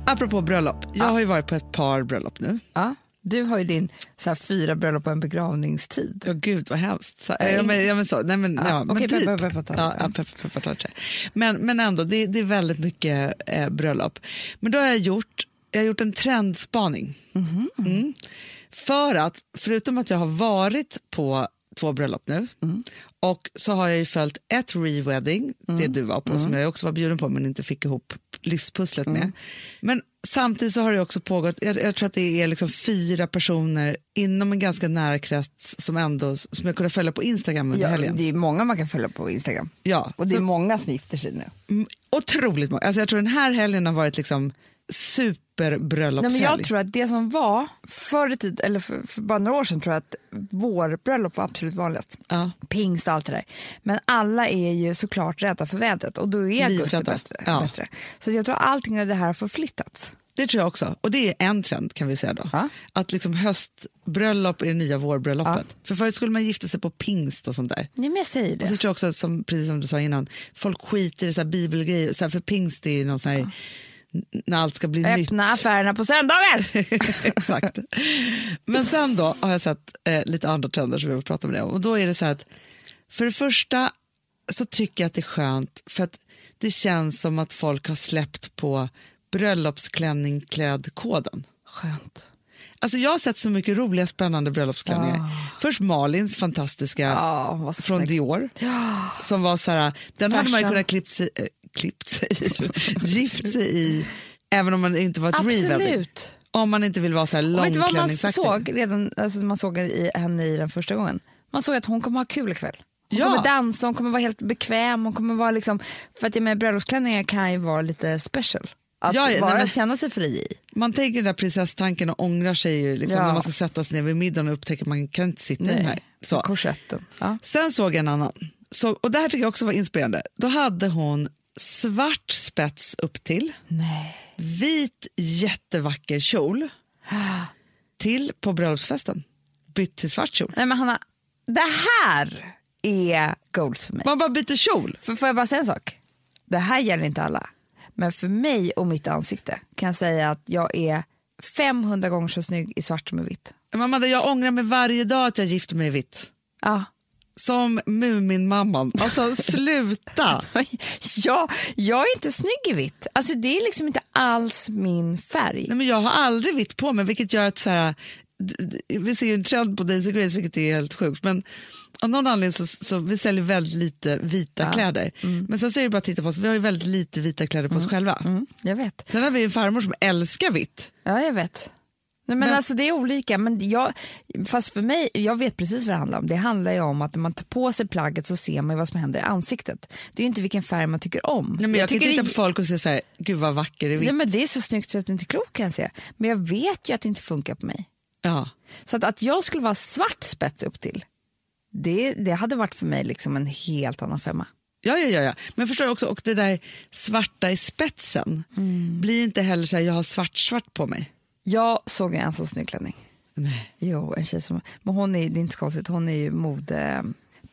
Speaker 1: Apropå bröllop, jag har ju varit på ett par bröllop nu.
Speaker 2: Ja, du har ju din så här, fyra bröllop och en begravningstid.
Speaker 1: Ja, gud vad hemskt. Så, äh, ja, men, ja, men så, nej, men, ja, men
Speaker 2: okej,
Speaker 1: typ.
Speaker 2: peppar, peppar, tar det.
Speaker 1: ja, ja, peppar, peppar, tar det. men, men ändå, det, det är väldigt mycket
Speaker 2: Mm-hmm.
Speaker 1: eh, bröllop. Men då har jag gjort, jag har gjort en trendspaning. Mm. För att, förutom att jag har varit på två bröllop nu
Speaker 2: Mm.
Speaker 1: och så har jag ju följt ett rewedding, det
Speaker 2: Mm.
Speaker 1: du var på, som jag också var bjuden på men inte fick ihop livspusslet
Speaker 2: Mm.
Speaker 1: med. Men samtidigt så har det också pågått, jag, jag tror att det är liksom fyra personer inom en ganska nära krets som ändå, som jag kunde följa på Instagram under
Speaker 2: Ja,
Speaker 1: helgen.
Speaker 2: det är många man kan följa på Instagram.
Speaker 1: ja.
Speaker 2: Och det är många som gifter sig nu.
Speaker 1: Mm, otroligt många. Alltså jag tror den här helgen har varit liksom
Speaker 2: Nej,
Speaker 1: superbröllopshelg.
Speaker 2: men jag tror att det som var förr i tiden, eller för, för bara några år sedan, tror jag att vårbröllop var absolut vanligast.
Speaker 1: Ja.
Speaker 2: Pingst och allt det där. Men alla är ju såklart rädda för vädret och då är augusti
Speaker 1: Livrädda.
Speaker 2: bättre.
Speaker 1: Ja.
Speaker 2: bättre. Så jag tror allting av det här har förflyttats.
Speaker 1: Det tror jag också. Och det är en trend kan vi säga då.
Speaker 2: Ja.
Speaker 1: Att liksom höstbröllop är det nya vårbröllopet. För förut skulle man gifta sig på pingst och sånt där.
Speaker 2: Nej, men jag säger
Speaker 1: Och
Speaker 2: det.
Speaker 1: så tror jag också, som, precis som du sa innan, folk skiter i så här bibelgrejer. Så här, för pingst är ju någon sån här, n- när allt ska bli nytt.
Speaker 2: Öppna affärerna på söndagar!
Speaker 1: Exakt. Men sen då har jag sett eh, lite andra trender som vi vill prata om det om. Och då är det så här att för det första så tycker jag att det är skönt för att det känns som att folk har släppt på bröllopsklänning klädd-koden.
Speaker 2: Skönt.
Speaker 1: Alltså jag har sett så mycket roliga spännande bröllopsklänningar. Först Malins fantastiska
Speaker 2: Ah. Ja, vad så
Speaker 1: från
Speaker 2: snyggt.
Speaker 1: Dior. Som var så här, den hade man ju
Speaker 2: Fashion.
Speaker 1: kunnat klippt sig, äh, klippt sig i, gift sig i, även om man inte var ett rewedding.
Speaker 2: Absolut.
Speaker 1: Om man inte vill vara så här
Speaker 2: Och vet du vad man
Speaker 1: långklänningsaktig.
Speaker 2: såg redan alltså, man såg i, henne i den första gången? Man såg att hon kommer ha kul ikväll. Hon
Speaker 1: Ja.
Speaker 2: kommer dansa, hon kommer vara helt bekväm, hon kommer vara liksom, för att jag menar bröllopsklänningar kan ju vara lite special. Att
Speaker 1: Ja, ja, nej,
Speaker 2: bara
Speaker 1: men-
Speaker 2: känna sig fri i.
Speaker 1: Man tänker den där prinsesstanken och ångrar sig ju liksom,
Speaker 2: Ja.
Speaker 1: när man ska sätta sig ner vid middagen och upptäcker att man kan inte sitta i den här. Så.
Speaker 2: Korsetten. Ja.
Speaker 1: Sen såg jag en annan, så, och det här tycker jag också var inspirerande. Då hade hon svart spets upp till.
Speaker 2: Nej.
Speaker 1: vit jättevacker kjol till på bröllopsfesten. Bytt till svart kjol.
Speaker 2: nej men Hanna, det här är goals för mig.
Speaker 1: Man bara byter kjol.
Speaker 2: För, får jag bara säga en sak? Det här gäller inte alla. Men för mig och mitt ansikte kan jag säga att jag är 500 gånger så snygg i svart som i vitt.
Speaker 1: Mamma, jag ångrar mig varje dag att jag gifte mig vitt.
Speaker 2: Ja.
Speaker 1: Som Muminmamman. Alltså sluta!
Speaker 2: Ja, jag är inte snygg i vitt. Alltså, det är liksom inte alls min färg.
Speaker 1: Nej, men jag har aldrig vitt på mig, vilket gör att så här, d- d- vi ser ju en trend på Daisy Grace, vilket är helt sjukt. Men av någon anledning så, så vi säljer väldigt lite vita kläder. Men sen så är det bara att titta på oss, vi har ju väldigt lite vita kläder på oss själva.
Speaker 2: Mm, jag vet.
Speaker 1: Sen har vi en farmor som älskar vitt.
Speaker 2: Ja, jag vet. Nej, men, alltså det är olika, men jag, fast för mig, jag vet precis vad det handlar om. Det handlar ju om att när man tar på sig plagget så ser man ju vad som händer i ansiktet. Det är ju inte vilken färg man tycker om.
Speaker 1: Nej, men jag, kan
Speaker 2: tycker
Speaker 1: titta
Speaker 2: det-
Speaker 1: på folk och säga så här, gud vad vacker i vitt.
Speaker 2: Nej, men det är så snyggt så att det inte är klokt kan jag säga. Men jag vet ju att det inte funkar på mig.
Speaker 1: Ja.
Speaker 2: Så att, att jag skulle vara svart spets upp till det, det hade varit för mig liksom en helt annan femma.
Speaker 1: Ja, ja, ja, ja. Men förstår du också, och det där svarta i spetsen
Speaker 2: Mm.
Speaker 1: blir ju inte heller så här, jag har svart svart på mig.
Speaker 2: Jag såg en så snygg klänning.
Speaker 1: Nej.
Speaker 2: Jo, en tjej som, men hon är, det är inte så konstigt, hon är ju mode... eh,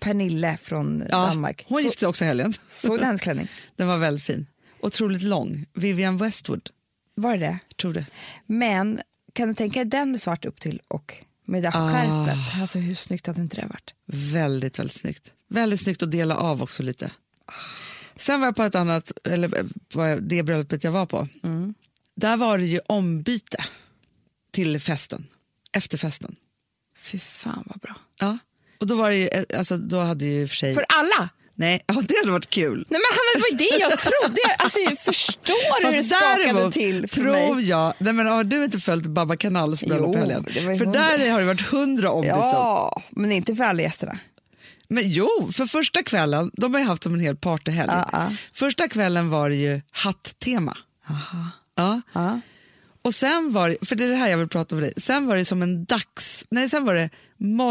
Speaker 2: Pernille från
Speaker 1: Ja,
Speaker 2: Danmark.
Speaker 1: Hon
Speaker 2: så,
Speaker 1: gifte sig också i helgen.
Speaker 2: såg du hennes klänning?
Speaker 1: Den var väldigt fin. Otroligt lång. Vivian Westwood,
Speaker 2: Var det det?
Speaker 1: tror du?
Speaker 2: Men kan du tänka dig den med svart upp till och med det där skärpet? Alltså hur snyggt hade inte det varit?
Speaker 1: Väldigt, väldigt snyggt. Väldigt snyggt att dela av också lite. Sen var jag på ett annat, eller eh, på det bröllopet jag var på.
Speaker 2: Mm.
Speaker 1: Där var det ju ombyte till festen, efter festen.
Speaker 2: Fy fan vad bra.
Speaker 1: Ja. Och då var det ju, eh, alltså då hade ju i och för sig...
Speaker 2: För alla!
Speaker 1: Nej, ja, det hade varit kul.
Speaker 2: Nej men Hanna, det var ju det jag trodde. Alltså jag förstår hur det
Speaker 1: Fast
Speaker 2: skakade
Speaker 1: däremot
Speaker 2: till för
Speaker 1: tror
Speaker 2: mig.
Speaker 1: jag, nej men har du inte följt Babba Kanals bröllop i
Speaker 2: Jo,
Speaker 1: helgen?
Speaker 2: det var ju
Speaker 1: För
Speaker 2: hundra.
Speaker 1: där har det varit hundra ombyten.
Speaker 2: Ja, men inte för alla gästerna.
Speaker 1: Men jo, för första kvällen, de har ju haft som en hel partyhelg.
Speaker 2: Ja, ja.
Speaker 1: Första kvällen var det ju hatt-tema. Ja.
Speaker 2: Ja.
Speaker 1: Och sen var det, för det är det här jag vill prata om med dig, sen var det som en dags, nej sen var det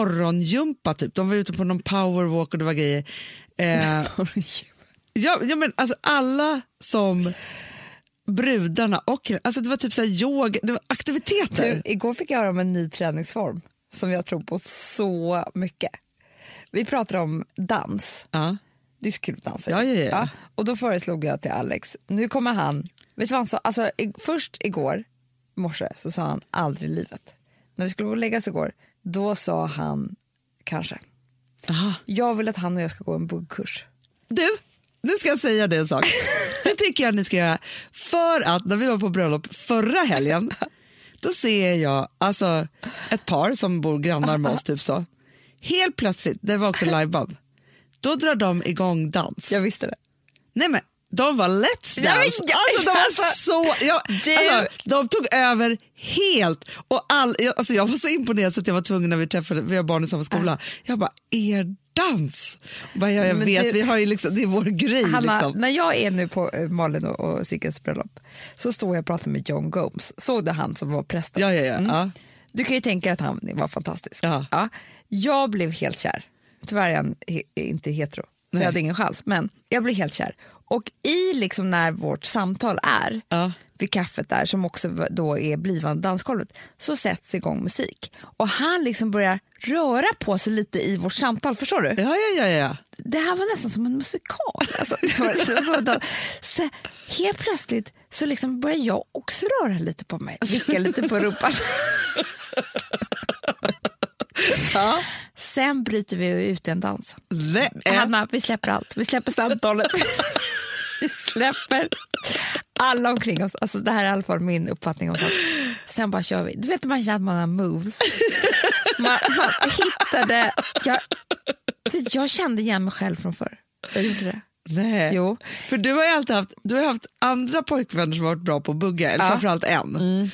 Speaker 1: morgongympa typ. De var ute på någon powerwalk och det var grejer. Eh, Ja, ja men alltså alla som brudarna och alltså det var typ så här yoga, det var aktiviteter.
Speaker 2: Du, igår fick jag höra om en ny träningsform som jag tror på så mycket. Vi pratar om dans.
Speaker 1: Ja.
Speaker 2: Det är så kul att dansa.
Speaker 1: Ja, ja, ja.
Speaker 2: och då föreslog jag till Alex, nu kommer han... Vet du vad han sa? Alltså, i, först igår morse så sa han aldrig i livet. När vi skulle gå och lägga oss igår, då sa han kanske.
Speaker 1: Aha.
Speaker 2: Jag vill att han och jag ska gå en buggkurs.
Speaker 1: Du, nu ska jag säga dig en sak. Det tycker jag ni ska göra. För att när vi var på bröllop förra helgen, Då ser jag alltså, ett par som bor grannar med oss, typ så. Helt plötsligt, det var också liveband, då drar de igång dans.
Speaker 2: Jag visste det.
Speaker 1: Nej men, de var let's dance.
Speaker 2: Ja, men jag-
Speaker 1: alltså, de var
Speaker 2: alltså,
Speaker 1: så... Jag,
Speaker 2: du-
Speaker 1: alltså, de tog över helt. Och all, jag, alltså, jag var så imponerad så att jag var tvungen när vi träffade, vi har barn i samma skola, jag bara, er dans? Jag, bara, ja, jag
Speaker 2: Men
Speaker 1: vet,
Speaker 2: du-
Speaker 1: vi har ju liksom, det är vår grej.
Speaker 2: Hanna,
Speaker 1: liksom.
Speaker 2: när jag är nu på eh, Malin och, och Sigges bröllop så står jag och pratar med John Gomes. Såg du han som var prästen? Mm.
Speaker 1: Ja, ja, ja. ja.
Speaker 2: Du kan ju tänka att han var fantastisk.
Speaker 1: Ja.
Speaker 2: Jag blev helt kär. Tyvärr är han he- inte hetero, så
Speaker 1: Nej.
Speaker 2: jag hade ingen chans. Men jag blev helt kär. Och i liksom när vårt samtal är
Speaker 1: Ja.
Speaker 2: vid kaffet där, som också v- då är blivande dansgolvet, så sätts igång musik. Och han liksom börjar röra på sig lite i vårt samtal, förstår du?
Speaker 1: Ja, ja, ja, ja.
Speaker 2: det här var nästan som en musikal. Alltså, det var liksom så, så, helt plötsligt så liksom började jag också röra lite på mig, vicka lite på rumpan. Sen bryter vi ut i en dans.
Speaker 1: Nej,
Speaker 2: Hanna, vi släpper allt. Vi släpper samtalet. Vi släpper alla omkring oss. Alltså, det här är i alla fall min uppfattning om sånt. Sen bara kör vi. Du vet, man känner att man har moves. Man, man hittade... Jag, för jag kände igen mig själv från förr. Jag gjorde det.
Speaker 1: nej.
Speaker 2: Jo.
Speaker 1: Äh, För du har ju alltid haft, du har haft andra pojkvänner som har varit bra på att bugga, eller
Speaker 2: Ja. Mm.
Speaker 1: framförallt en.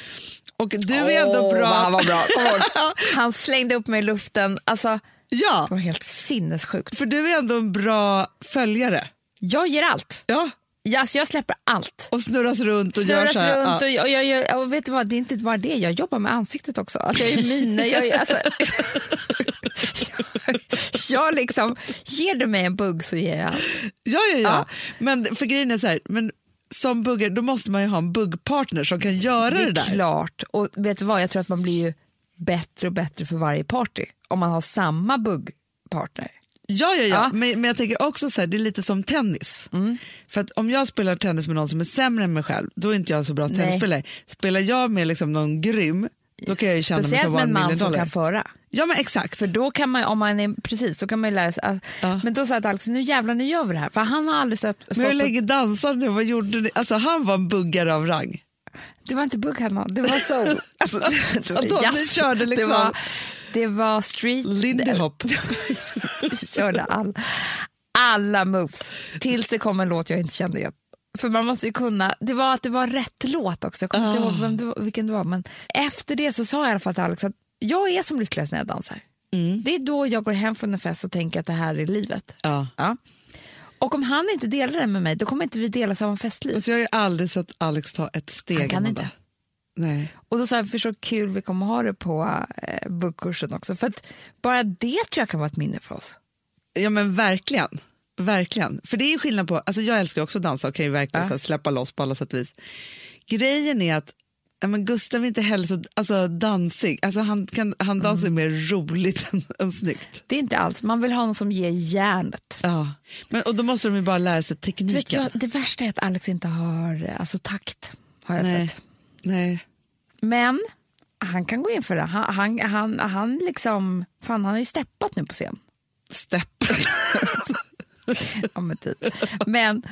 Speaker 1: Och du är ändå
Speaker 2: Åh,
Speaker 1: bra.
Speaker 2: vad Han, var bra. Kom ihåg. han slängde upp mig i luften. Alltså,
Speaker 1: Ja,
Speaker 2: det var helt sinnessjukt.
Speaker 1: för du är ändå en bra följare.
Speaker 2: Jag ger allt.
Speaker 1: Ja,
Speaker 2: Jag, alltså, jag släpper allt.
Speaker 1: och snurras runt och gör
Speaker 2: snurras
Speaker 1: så här.
Speaker 2: runt
Speaker 1: ja.
Speaker 2: och, jag, jag, jag, och vet du vad, det är inte bara det, jag jobbar med ansiktet också. Alltså jag är miner, jag, är- alltså, jag liksom, ger du mig en bugg så ger jag allt.
Speaker 1: Ja, ja, ja.
Speaker 2: Ja.
Speaker 1: Men för grejen är så här, men som buggare, då måste man ju ha en buggpartner som kan göra det,
Speaker 2: Det är
Speaker 1: där.
Speaker 2: klart, och vet du vad, jag tror att man blir ju bättre och bättre för varje party om man har samma buggpartner.
Speaker 1: Ja, ja, ja.
Speaker 2: Ja. Mm.
Speaker 1: Men, men jag tänker också så här, det är lite som tennis. För att om jag spelar tennis med någon som är sämre än mig själv, då är inte jag så bra tennisspelare. Spelar jag med liksom någon grym, då kan jag ju känna mig
Speaker 2: Speciellt
Speaker 1: som
Speaker 2: med
Speaker 1: one
Speaker 2: en
Speaker 1: million
Speaker 2: man som
Speaker 1: dollar.
Speaker 2: kan föra.
Speaker 1: Ja, men exakt.
Speaker 2: För då kan man, om man är, precis, då kan man ju lära sig. Att, Men då sa jag till Alex, nu jävlar nu gör vi det här. För han har aldrig stått, stått
Speaker 1: men hur
Speaker 2: på
Speaker 1: länge dansade ni? Vad gjorde ni? Alltså, han var en buggare av rang.
Speaker 2: Det var inte bugg hemma, det var soul. Alltså, det var
Speaker 1: Vadå,
Speaker 2: jazz.
Speaker 1: ni körde liksom-
Speaker 2: Det var, det var street,
Speaker 1: Lindy hop.
Speaker 2: vi körde all, alla moves. Tills det kom en låt jag inte kände igen. För man måste ju kunna, det var att det var rätt låt också, jag kommer inte
Speaker 1: Ah.
Speaker 2: ihåg vem det var, vilken det var. Men efter det så sa jag i alla fall till Alex att jag är som lyckligast när jag dansar.
Speaker 1: Mm.
Speaker 2: Det är då jag går hem från en fest och tänker att det här är livet.
Speaker 1: Ja.
Speaker 2: Ja. Och om han inte delar det med mig, då kommer inte vi dela samma festliv.
Speaker 1: Alltså, Jag har ju aldrig sett Alex ta ett steg.
Speaker 2: Han kan
Speaker 1: Amanda.
Speaker 2: inte.
Speaker 1: Nej.
Speaker 2: Och då sa jag, för så kul vi kommer ha det på eh, buggkursen också. För att bara det tror jag kan vara ett minne för oss.
Speaker 1: Ja, men verkligen. Verkligen. För det är ju skillnad på, alltså jag älskar ju också att dansa och kan ju verkligen så här, släppa loss på alla sätt och vis. Grejen är att ja, men Gustav är inte heller så alltså, dansig. Alltså, han, kan, han dansar
Speaker 2: Mm.
Speaker 1: ju mer roligt än, än snyggt.
Speaker 2: Det är inte alls, man vill ha någon som ger järnet.
Speaker 1: Ja. Men, och då måste de ju bara lära sig
Speaker 2: Du vet,
Speaker 1: tekniken.
Speaker 2: jag, det värsta är att Alex inte har eh, alltså, takt, har jag
Speaker 1: Nej.
Speaker 2: sett.
Speaker 1: Nej.
Speaker 2: Men han kan gå in för det. Han, han, han, han, liksom, fan, han har ju steppat nu på scen.
Speaker 1: Stepp.
Speaker 2: Ja, men typ. Men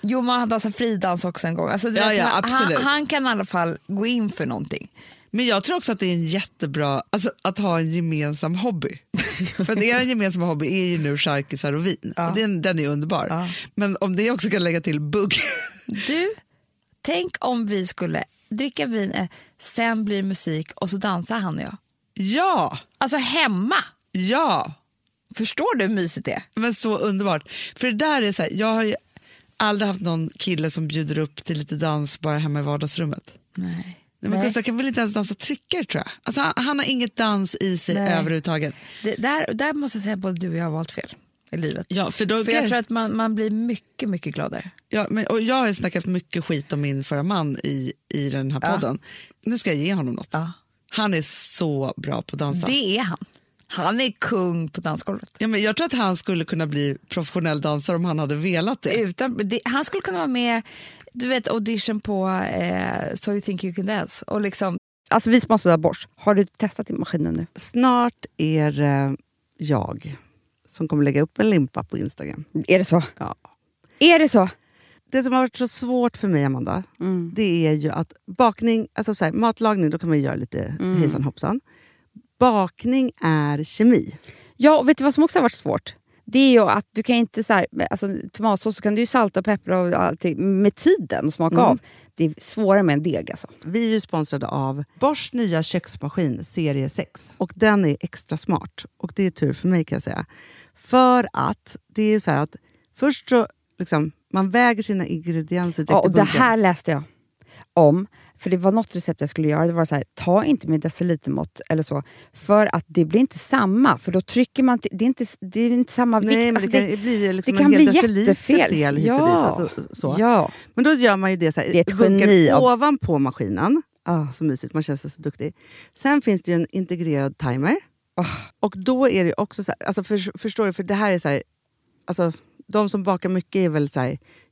Speaker 2: jo, man har dansat fridans också en gång. Alltså, du
Speaker 1: Ja,
Speaker 2: vet,
Speaker 1: ja,
Speaker 2: han, han,
Speaker 1: absolut.
Speaker 2: han kan i alla fall gå in för någonting.
Speaker 1: Men jag tror också att det är en jättebra, alltså att ha en gemensam hobby. För att er gemensamma hobby är ju nu charkisar och vin. Och den, den är underbar.
Speaker 2: Ja.
Speaker 1: Men om det också kan lägga till bugg.
Speaker 2: Du, tänk om vi skulle dricka vin, eh, sen blir det musik och så dansar han och jag.
Speaker 1: ja,
Speaker 2: Alltså hemma!
Speaker 1: ja.
Speaker 2: Förstår du hur mysigt det är?
Speaker 1: Men så underbart. För det där är så här, jag har ju aldrig haft någon kille som bjuder upp till lite dans bara hemma i vardagsrummet.
Speaker 2: Nej.
Speaker 1: Nej, men Gustav kan väl inte ens dansa trycker tror jag. Alltså, han, han har inget dans i sig
Speaker 2: Nej.
Speaker 1: överhuvudtaget.
Speaker 2: Det, där, där måste jag säga att både du och jag har valt fel i livet.
Speaker 1: Ja, för då,
Speaker 2: För jag tror att man, man blir mycket, mycket gladare.
Speaker 1: Ja, men, och jag har ju snackat mycket skit om min förra man i, i den här podden. Nu ska jag ge honom något.
Speaker 2: Ja.
Speaker 1: Han är så bra på att dansa.
Speaker 2: Det är han. Han är kung på dansgolvet.
Speaker 1: Ja, men jag tror att han skulle kunna bli professionell dansare om han hade velat det.
Speaker 2: Utan, det, han skulle kunna vara med, du vet audition på eh, So you think you can dance. Och liksom,
Speaker 5: Alltså vi som har sådär borst, har du testat din maskinen nu?
Speaker 4: Snart är eh, det jag som kommer lägga upp en limpa på Instagram.
Speaker 5: Är det så?
Speaker 4: Ja.
Speaker 5: Är det så?
Speaker 4: Det som har varit så svårt för mig, Amanda,
Speaker 2: Mm.
Speaker 4: det är ju att bakning, alltså så här, matlagning, då kan man ju göra lite
Speaker 2: Mm.
Speaker 4: hejsan hoppsan. Bakning är kemi.
Speaker 2: Ja, och vet du vad som också har varit svårt? Det är ju att du kan inte så här, med- alltså, tomatsås så kan du ju salta och peppra och allt med tiden och
Speaker 4: Mm.
Speaker 2: smaka av. Det är svårare med en deg alltså.
Speaker 4: Vi är ju sponsrade av Bors nya köksmaskin serie 6. Och den är extra smart. Och det är tur för mig kan jag säga. För att det är så här att först så liksom, man väger sina ingredienser direkt
Speaker 2: Ja, och
Speaker 4: i
Speaker 2: det
Speaker 4: bunken.
Speaker 2: här läste jag om. För det var något recept jag skulle göra. Det var så här, ta inte med decilitermått eller så. För att det blir inte samma. För då trycker man... till- Det är inte, det är inte samma vikt.
Speaker 4: Nej, men
Speaker 2: Alltså,
Speaker 4: det kan ju bli liksom
Speaker 2: det kan
Speaker 4: en hel
Speaker 2: bli
Speaker 4: deciliter
Speaker 2: jättefel.
Speaker 4: fel hit och dit. Alltså, så.
Speaker 2: Ja.
Speaker 4: Men då gör man ju det så här,
Speaker 2: Det är ett
Speaker 4: bunkar
Speaker 2: geni av-
Speaker 4: ovanpå maskinen.
Speaker 2: Ah.
Speaker 4: Så mysigt, man känns så duktig. Sen finns det ju en integrerad timer.
Speaker 2: Ah.
Speaker 4: Och då är det ju också så här, alltså för, förstår du, för det här är så här, alltså de som bakar mycket är väl så här,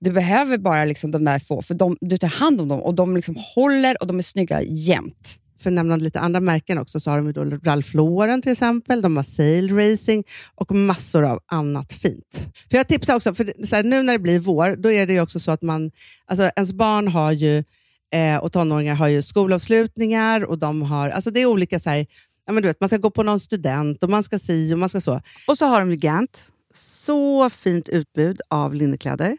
Speaker 2: Du behöver bara liksom de där få, för de, du tar hand om dem och de liksom håller och de är snygga jämt.
Speaker 4: för att nämna lite andra märken också, så har de ju då Ralph Lauren till exempel, de har Sail Racing och massor av annat fint. För Jag tipsar också, för det- så här, nu när det blir vår, då är det ju också så att man, alltså ens barn har ju, eh, och tonåringar har ju skolavslutningar och de har, alltså det är olika så här, ja, men du vet, man ska gå på någon student och man ska si och man ska så. Och så har de ju Gant, så fint utbud av linnekläder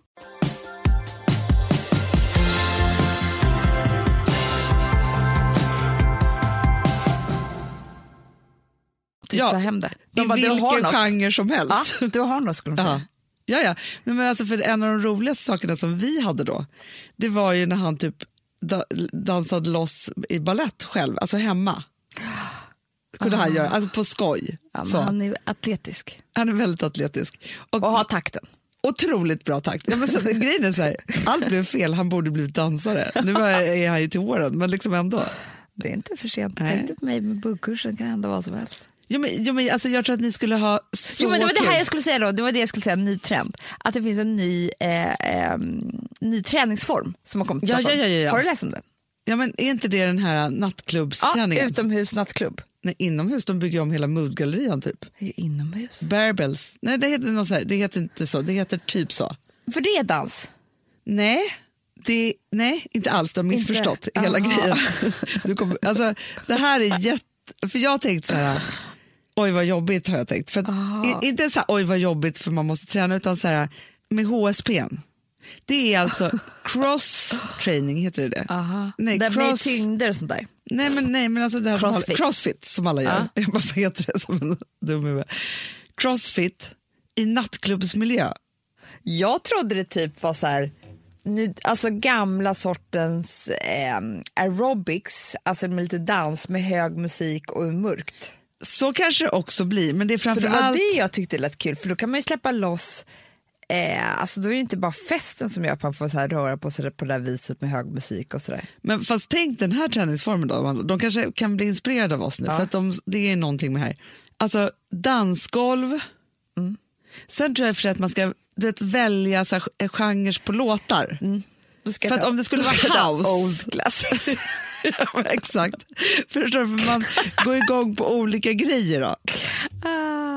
Speaker 1: Ja,
Speaker 6: ta hem det.
Speaker 1: De
Speaker 6: Du
Speaker 1: bara,
Speaker 6: vill
Speaker 1: vilken
Speaker 6: ha något.
Speaker 1: genre som helst.
Speaker 6: Ja, du har något skulle de säga.
Speaker 1: Ja. Ja, ja. Nej, men alltså för en av de roligaste sakerna som vi hade då, det var ju när han typ da dansade loss i ballett själv, alltså hemma. Kunde han göra, alltså på skoj.
Speaker 6: Ah. Ja, men
Speaker 1: så. Han...
Speaker 6: han är ju atletisk
Speaker 1: är väldigt atletisk. Och,
Speaker 6: och har takten.
Speaker 1: Otroligt bra takt. Ja, men så, grejen är så här, allt blev fel, han borde blivit dansare. Nu är han ju till åren, men liksom ändå.
Speaker 6: Det är inte för sent.
Speaker 1: Nej.
Speaker 6: Tänk dig på mig med buggkursen, kan hända vad som helst.
Speaker 1: Jo, men, jo, men, alltså, jag tror att ni skulle ha så
Speaker 6: Jo, men det var det här
Speaker 1: kul.
Speaker 6: jag skulle säga då. Det var det jag skulle säga, en ny trend. Att det finns en ny, eh, eh, ny träningsform som har kommit till
Speaker 1: Ja,
Speaker 6: Stockholm.
Speaker 1: ja, ja, ja, ja.
Speaker 6: Har du läst om den?
Speaker 1: ja, men, Är inte det den här
Speaker 6: Ja,
Speaker 1: nattklubbsträningen?
Speaker 6: utomhus nattklubb.
Speaker 1: Nej, inomhus, de bygger ju om hela Moodgallerian typ.
Speaker 6: Inomhus?
Speaker 1: Barbells. Nej, det heter, något så här. det heter inte så. Det heter typ så.
Speaker 6: För det är dans.
Speaker 1: Nej, det, nej inte alls. Du har missförstått
Speaker 6: Inte?
Speaker 1: hela
Speaker 6: Aha.
Speaker 1: grejen. Du kommer, alltså, det här är jätte... För jag har tänkt så här, oj vad jobbigt har jag tänkt. För att,
Speaker 6: Ah.
Speaker 1: i, inte så här, oj vad jobbigt för man måste träna, utan så här, med HSP. Det är alltså cross training, heter det det? Nej,
Speaker 6: Där blir
Speaker 1: cross-
Speaker 6: tyngder och sånt där.
Speaker 1: Nej men, nej, men alltså det här som
Speaker 6: Crossfit.
Speaker 1: Alla, crossfit som alla gör. Jag bara, vad heter det som en dum huvud? Crossfit i nattklubbsmiljö.
Speaker 6: Jag trodde det typ var så här, nu, alltså gamla sortens eh, aerobics, alltså med lite dans med hög musik och mörkt.
Speaker 1: Så kanske det också blir, men det är
Speaker 6: För det var
Speaker 1: framförallt...
Speaker 6: det jag tyckte lät kul, för då kan man ju släppa loss Eh, alltså då är det inte bara festen som gör att man får så här röra på sig på det där viset med hög musik och sådär.
Speaker 1: Men fast tänk den här träningsformen då, Amanda. de kanske kan bli inspirerade av oss nu, för att de, det är någonting med det här. Alltså dansgolv,
Speaker 6: Mm.
Speaker 1: sen tror jag i och för sig att man ska du vet, välja så här, genrer på låtar.
Speaker 6: Mm. Då ska
Speaker 1: För
Speaker 6: jag
Speaker 1: att
Speaker 6: ta-
Speaker 1: om det skulle
Speaker 6: då
Speaker 1: vara
Speaker 6: ska jag ta
Speaker 1: house-
Speaker 6: Old classics.
Speaker 1: ja, men exakt. Förstår du? För man går igång på olika grejer då.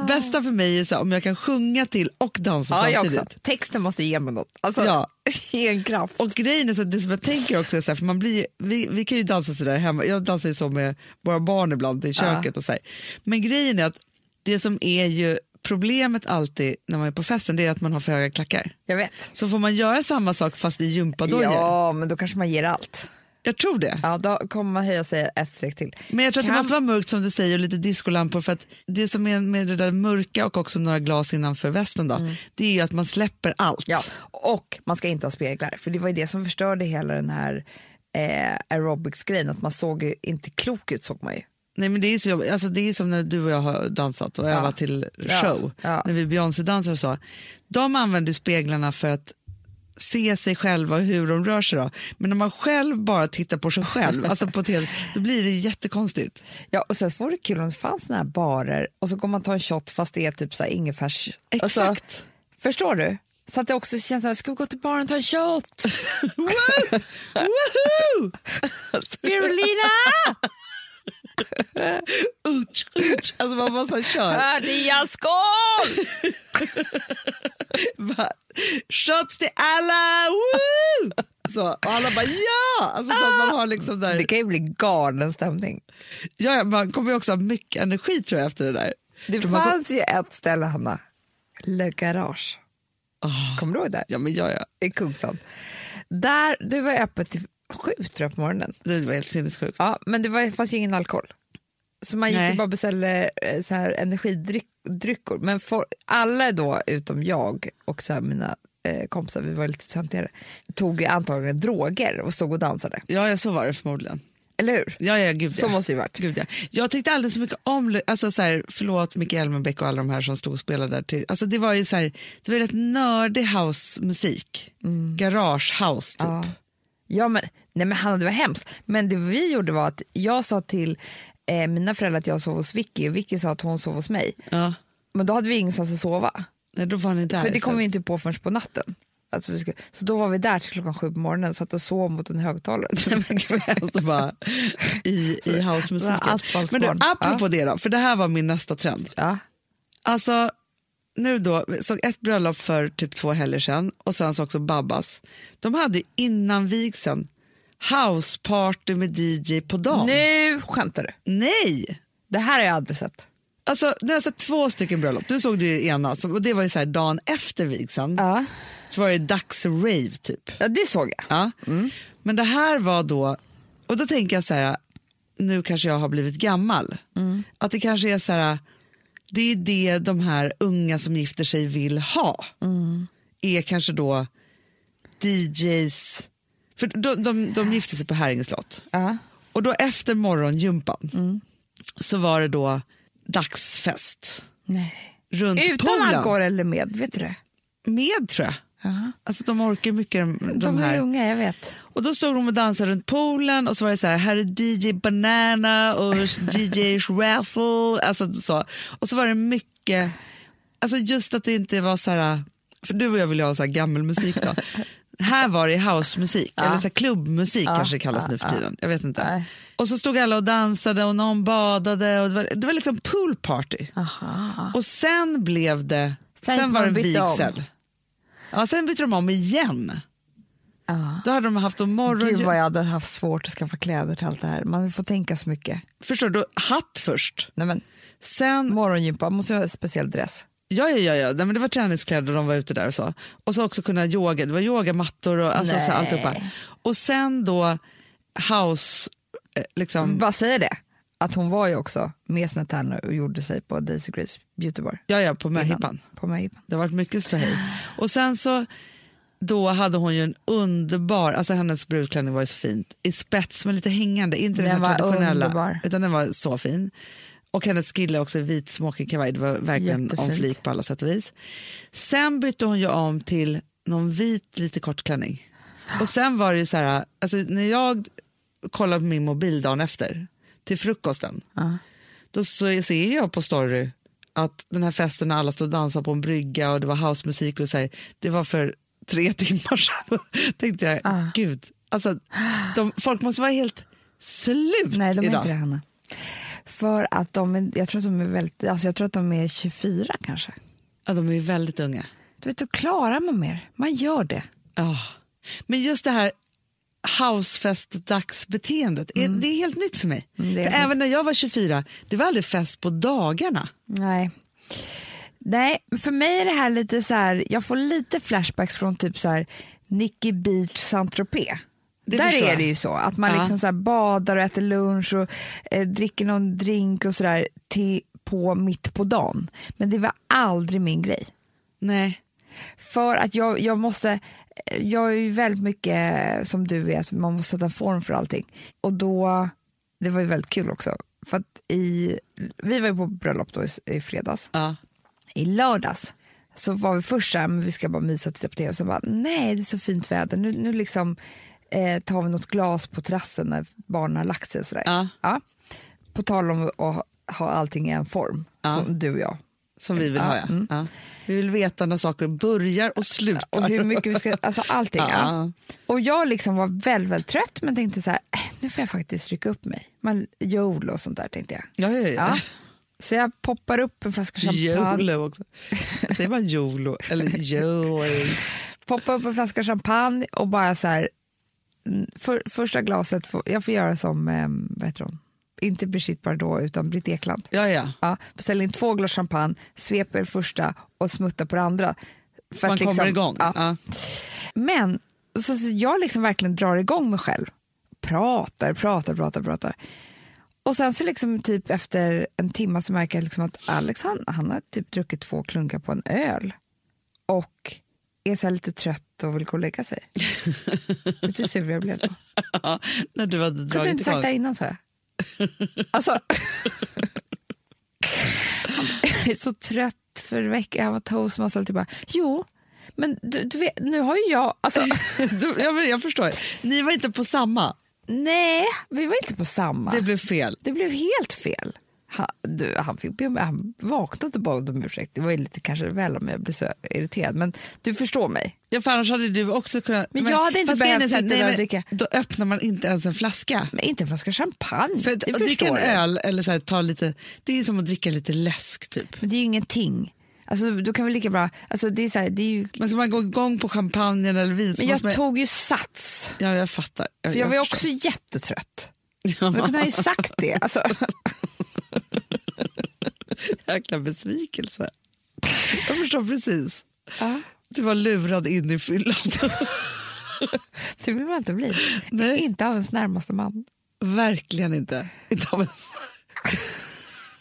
Speaker 1: Bästa för mig är så här, om jag kan sjunga till och dansa
Speaker 6: Ah. ja, jag
Speaker 1: samtidigt.
Speaker 6: också. Texten måste ge mig något, alltså
Speaker 1: Ja.
Speaker 6: ge en kraft.
Speaker 1: Och grejen är så att det som jag tänker också är så här, för man blir, ju- vi, vi kan ju dansa så där hemma, jag dansar ju så med våra barn ibland i köket och så här. Men grejen är att det som är ju problemet alltid när man är på festen, det är att man har för höga klackar.
Speaker 6: Jag vet.
Speaker 1: Så får man göra samma sak fast i gympadojor?
Speaker 6: Ja, men då kanske man ger allt.
Speaker 1: Jag tror det.
Speaker 6: Ja, då kommer man höja sig ett steg till.
Speaker 1: Men jag tror att
Speaker 6: Kan-
Speaker 1: det måste vara mörkt som du säger och lite discolampor för att det som är med det där mörka och också några glas innanför västen då, det är ju att man släpper allt.
Speaker 6: Mm. Ja, och man ska inte ha speglar, för det var ju det som förstörde hela den här eh, aerobics-grejen, att man såg ju inte klok ut såg man ju.
Speaker 1: Nej, men det, är så jobbigt. Alltså, det är som när du och jag har dansat och övat till
Speaker 6: Ja.
Speaker 1: show,
Speaker 6: Ja.
Speaker 1: när vi Beyoncé-dansar och så. De använder ju speglarna för att se sig själva och hur de rör sig. Då. Men om man själv bara tittar på sig själv, alltså på TV, då blir det ju jättekonstigt.
Speaker 6: Ja, och sen vore det kul om det fanns såna här barer och så går man ta en shot fast det är typ så här ingefärs...
Speaker 1: Exakt.
Speaker 6: Alltså, förstår du? Så att det också känns så här, ska vi gå till baren och ta en shot?
Speaker 1: Woo! Woohoo!
Speaker 6: Spirulina!
Speaker 1: Utsch, utsch. Alltså man bara så här kör.
Speaker 6: Maria, skål!
Speaker 1: Bara, Shots till alla! Woo! Så, och alla bara ja! Alltså, så att man har liksom där...
Speaker 6: Det kan ju bli galen stämning.
Speaker 1: Ja, ja, man kommer ju också ha mycket energi tror jag efter det där.
Speaker 6: Det
Speaker 1: Tror man kom-
Speaker 6: fanns ju ett ställe, Hanna. Le Garage. Kommer du ihåg det?
Speaker 1: Ja, men ja, ja.
Speaker 6: I Kungsan. Där, det var öppet till sju tror jag på morgonen.
Speaker 1: Det var helt sinnessjukt.
Speaker 6: Ja, men det var, fanns ju ingen alkohol. Så man gick
Speaker 1: Nej.
Speaker 6: ju bara och beställde eh, så här, energidrycker. Men for, alla då, utom jag och så här, mina eh, kompisar, vi var lite töntigare, tog ju antagligen droger och stod och dansade.
Speaker 1: Ja, ja, så var det förmodligen.
Speaker 6: Eller hur?
Speaker 1: Ja, ja, gud, ja.
Speaker 6: Så måste det ju varit.
Speaker 1: Gud, ja. Jag tyckte alldeles så mycket om, alltså, så här, förlåt Micke Elmenbäck och alla de här som stod och spelade där. Till, alltså, det var ju så här, det var rätt nördig housemusik. Garage house typ.
Speaker 6: Mm. Ja. Ja, men, nej, men Hanna, det var hemskt. Men det vi gjorde var att jag sa till eh, mina föräldrar att jag sov hos Vicky och Vicky sa att hon sov hos mig.
Speaker 1: Ja.
Speaker 6: Men då hade vi ingenstans att sova.
Speaker 1: Nej, då var ni där.
Speaker 6: För det kom vi
Speaker 1: istället.
Speaker 6: inte på förrän på natten. Alltså, vi skulle, så då var vi där till klockan sju på morgonen, satt och sov mot en högtalare.
Speaker 1: Alltså bara i, i
Speaker 6: Alltså,
Speaker 1: housemusiken.
Speaker 6: Sådana asfaltspån.
Speaker 1: Men du, apropå det då, för det här var min nästa trend.
Speaker 6: ja.
Speaker 1: Alltså, nu då, vi såg ett bröllop för typ två helger sedan och sen så också Babbas. De hade ju innan vigseln houseparty med DJ på dagen.
Speaker 6: Nu skämtar du.
Speaker 1: Nej!
Speaker 6: Det här har jag aldrig sett.
Speaker 1: Alltså, nu har jag sett två stycken bröllop. Du såg det ju ena, som- och det var ju så här dagen efter vigseln.
Speaker 6: Ja.
Speaker 1: Så var det dags rave typ.
Speaker 6: Ja, det såg jag.
Speaker 1: Ja. Men det här var då, och då tänker jag så här, nu kanske jag har blivit gammal. Att det kanske är så här, det är det de här unga som gifter sig vill ha.
Speaker 6: Mm.
Speaker 1: Är kanske då DJs, för de, de, de gifte sig på Häringe slott.
Speaker 6: Ja. Mm.
Speaker 1: Och då efter morgongympan så var det då dagsfest.
Speaker 6: Nej.
Speaker 1: Runt
Speaker 6: Utan
Speaker 1: poolen.
Speaker 6: alkohol eller med, vet du det?
Speaker 1: Med tror jag. Alltså de orkar mycket de, de,
Speaker 6: De
Speaker 1: här.
Speaker 6: är unga, jag vet.
Speaker 1: Och då stod de och dansade runt poolen och så var det så här, här är DJ Banana och DJ Raffle. Alltså så. Och så var det mycket, alltså just att det inte var så här, för du och jag vill ju ha så här gammal musik då. här var det housemusik, eller så här klubbmusik kanske det kallas nu för tiden. Jag vet inte.
Speaker 6: Nej.
Speaker 1: Och så stod alla och dansade och någon badade och det var, det var liksom poolparty.
Speaker 6: Aha.
Speaker 1: Och sen blev det,
Speaker 6: Sen
Speaker 1: sen, var det
Speaker 6: de bytte om.
Speaker 1: vigsel. Ja, sen bytte de om igen.
Speaker 6: Ja.
Speaker 1: Då hade de haft om morgon...
Speaker 6: Gud vad jag hade haft svårt att skaffa kläder till allt det här. Man får tänka så mycket.
Speaker 1: Förstår du? Hatt först.
Speaker 6: Nej, men,
Speaker 1: Sen,
Speaker 6: morgongympa, måste jag ha en speciell dress?
Speaker 1: ja, ja, ja, ja. Nej, men det var träningskläder och de var ute där och så. Och så också kunna yoga, det var yogamattor och alltså, så här, alltihopa. Och sen då house, eh, liksom,
Speaker 6: Bara säger det, att hon var ju också med sina tärnor och gjorde sig på Daisy Grace Beauty Bar.
Speaker 1: ja, ja, på
Speaker 6: innan.
Speaker 1: möhippan.
Speaker 6: På möhippan.
Speaker 1: Det har varit mycket ståhej. Och sen så, då hade hon ju en underbar, alltså hennes brudklänning var ju så fint, i spets men lite hängande, inte den,
Speaker 6: Den
Speaker 1: här
Speaker 6: var
Speaker 1: traditionella,
Speaker 6: underbar.
Speaker 1: utan den var så fin. Och hennes kille också i vit smoking kavaj, det var verkligen
Speaker 6: Jättefint.
Speaker 1: om flik på alla sätt och vis. Sen bytte hon ju om till någon vit lite kort klänning. Och sen var det ju så här, alltså när jag kollade på min mobil dagen efter, till frukosten, då så ser jag på story att den här festen när alla stod och dansade på en brygga och det var housemusik och så här, det var för tre timmar sedan. tänkte jag,
Speaker 6: Ah.
Speaker 1: gud, alltså de, folk måste vara helt slut
Speaker 6: Nej, de är
Speaker 1: idag.
Speaker 6: inte det, Hanna. För att de är, jag tror att de är väldigt, alltså jag tror att de är 24 kanske.
Speaker 1: Ja, de är ju väldigt unga.
Speaker 6: Du vet, då klarar man mer. Man gör det.
Speaker 1: Ja. Men just det här housefest-dagsbeteendet, är- det är helt nytt för mig.
Speaker 6: Mm, det är
Speaker 1: för
Speaker 6: det.
Speaker 1: även när jag var 24, det var aldrig fest på dagarna.
Speaker 6: Nej. Nej, för mig är det här lite så här, jag får lite flashbacks från typ så här Nicky Beach Saint-Tropez.
Speaker 1: Det
Speaker 6: Där
Speaker 1: förstår
Speaker 6: är
Speaker 1: jag.
Speaker 6: det ju så, att man
Speaker 1: Ja.
Speaker 6: liksom så här badar och äter lunch och eh, dricker någon drink och sådär till på mitt på dagen. Men det var aldrig min grej.
Speaker 1: Nej.
Speaker 6: För att jag, jag måste, jag är ju väldigt mycket som du vet, man måste sätta form för allting. Och då, det var ju väldigt kul också. För att i, vi var ju på bröllop då i, i fredags.
Speaker 1: Ja.
Speaker 6: I lördags så var vi först så här, men vi ska bara mysa och titta på tv. Och så bara, nej det är så fint väder, nu, nu liksom eh, tar vi något glas på terrassen när barnen har lagt sig och sådär.
Speaker 1: Ja.
Speaker 6: Ja. På tal om att ha- ha allting i en form, som du och jag.
Speaker 1: Som vi vill ha, ja. ja. Vi vill veta när saker börjar och slutar.
Speaker 6: Mm. och hur mycket vi ska, alltså allting.
Speaker 1: Ja.
Speaker 6: Ja. Och jag liksom var väldigt, väldigt trött men tänkte så här, "Eh, nu får jag faktiskt rycka upp mig. Man, jol och sånt där tänkte jag.
Speaker 1: Ja, ja,
Speaker 6: Ja.
Speaker 1: ja.
Speaker 6: Så jag poppar upp en flaska champagne,
Speaker 1: Jolo också. Säger man jolo? Eller jolo?
Speaker 6: poppar upp en flaska champagne och bara så här, mm, för, första glaset, får, jag får göra som, eh, vad heter hon, inte Brigitte Bardot utan Britt Ekland.
Speaker 1: Ja, ja.
Speaker 6: Ja, beställer in två glas champagne, sveper första och smuttar på det andra. För
Speaker 1: Man
Speaker 6: att liksom-
Speaker 1: kommer igång.
Speaker 6: Ja.
Speaker 1: Ja.
Speaker 6: Men så, så jag liksom verkligen drar igång mig själv. Pratar, pratar, pratar, pratar. Och sen så liksom typ efter en timme så märker jag liksom att Alex han, han har typ druckit två klunkar på en öl och är så här lite trött och vill gå och lägga sig. Vet du hur sur jag blev då?
Speaker 1: Ja. När du hade
Speaker 6: Kunde du
Speaker 1: dragit
Speaker 6: inte sagt det här
Speaker 1: igång.
Speaker 6: innan sa jag. Alltså. jag är så trött för veckan, jag var toastmaster och typ bara, jo, men du, du vet, nu har ju jag, alltså
Speaker 1: Du- ja, men jag förstår. Ni var inte på samma.
Speaker 6: Nej, vi var inte på samma.
Speaker 1: Det
Speaker 6: Det,
Speaker 1: blev fel.
Speaker 6: blev helt fel. Han, du, han, fick be om, han vaknade bara om ursäkt. Det var ju lite kanske väl om jag blir så irriterad. Men du förstår mig.
Speaker 1: Ja, för annars hade du också kunnat...
Speaker 6: Men jag hade inte
Speaker 1: fast grejen är
Speaker 6: behövt
Speaker 1: så här,
Speaker 6: sitta
Speaker 1: nej,
Speaker 6: där och
Speaker 1: men
Speaker 6: dricka.
Speaker 1: Då öppnar man inte ens en flaska.
Speaker 6: Men inte en flaska champagne.
Speaker 1: För att
Speaker 6: det
Speaker 1: att dricka en
Speaker 6: förstår jag.
Speaker 1: öl eller så här, ta lite, det är som att dricka lite läsk typ.
Speaker 6: Men det är ju ingenting. Alltså, då kan vi lika bra... Alltså, det är så här, det är ju,
Speaker 1: Men ska man gå igång på champagne eller vin så
Speaker 6: men jag
Speaker 1: måste man,
Speaker 6: tog ju sats.
Speaker 1: Ja, jag fattar.
Speaker 6: För jag var ju
Speaker 1: förstår.
Speaker 6: också jättetrött. Då kunde han ju sagt det. Alltså,
Speaker 1: Jäkla besvikelse. Jag förstår precis.
Speaker 6: Ja.
Speaker 1: Du var lurad in i fyllan.
Speaker 6: det vill man inte bli.
Speaker 1: Nej.
Speaker 6: Inte av ens närmaste man.
Speaker 1: Verkligen inte. Inte av ens...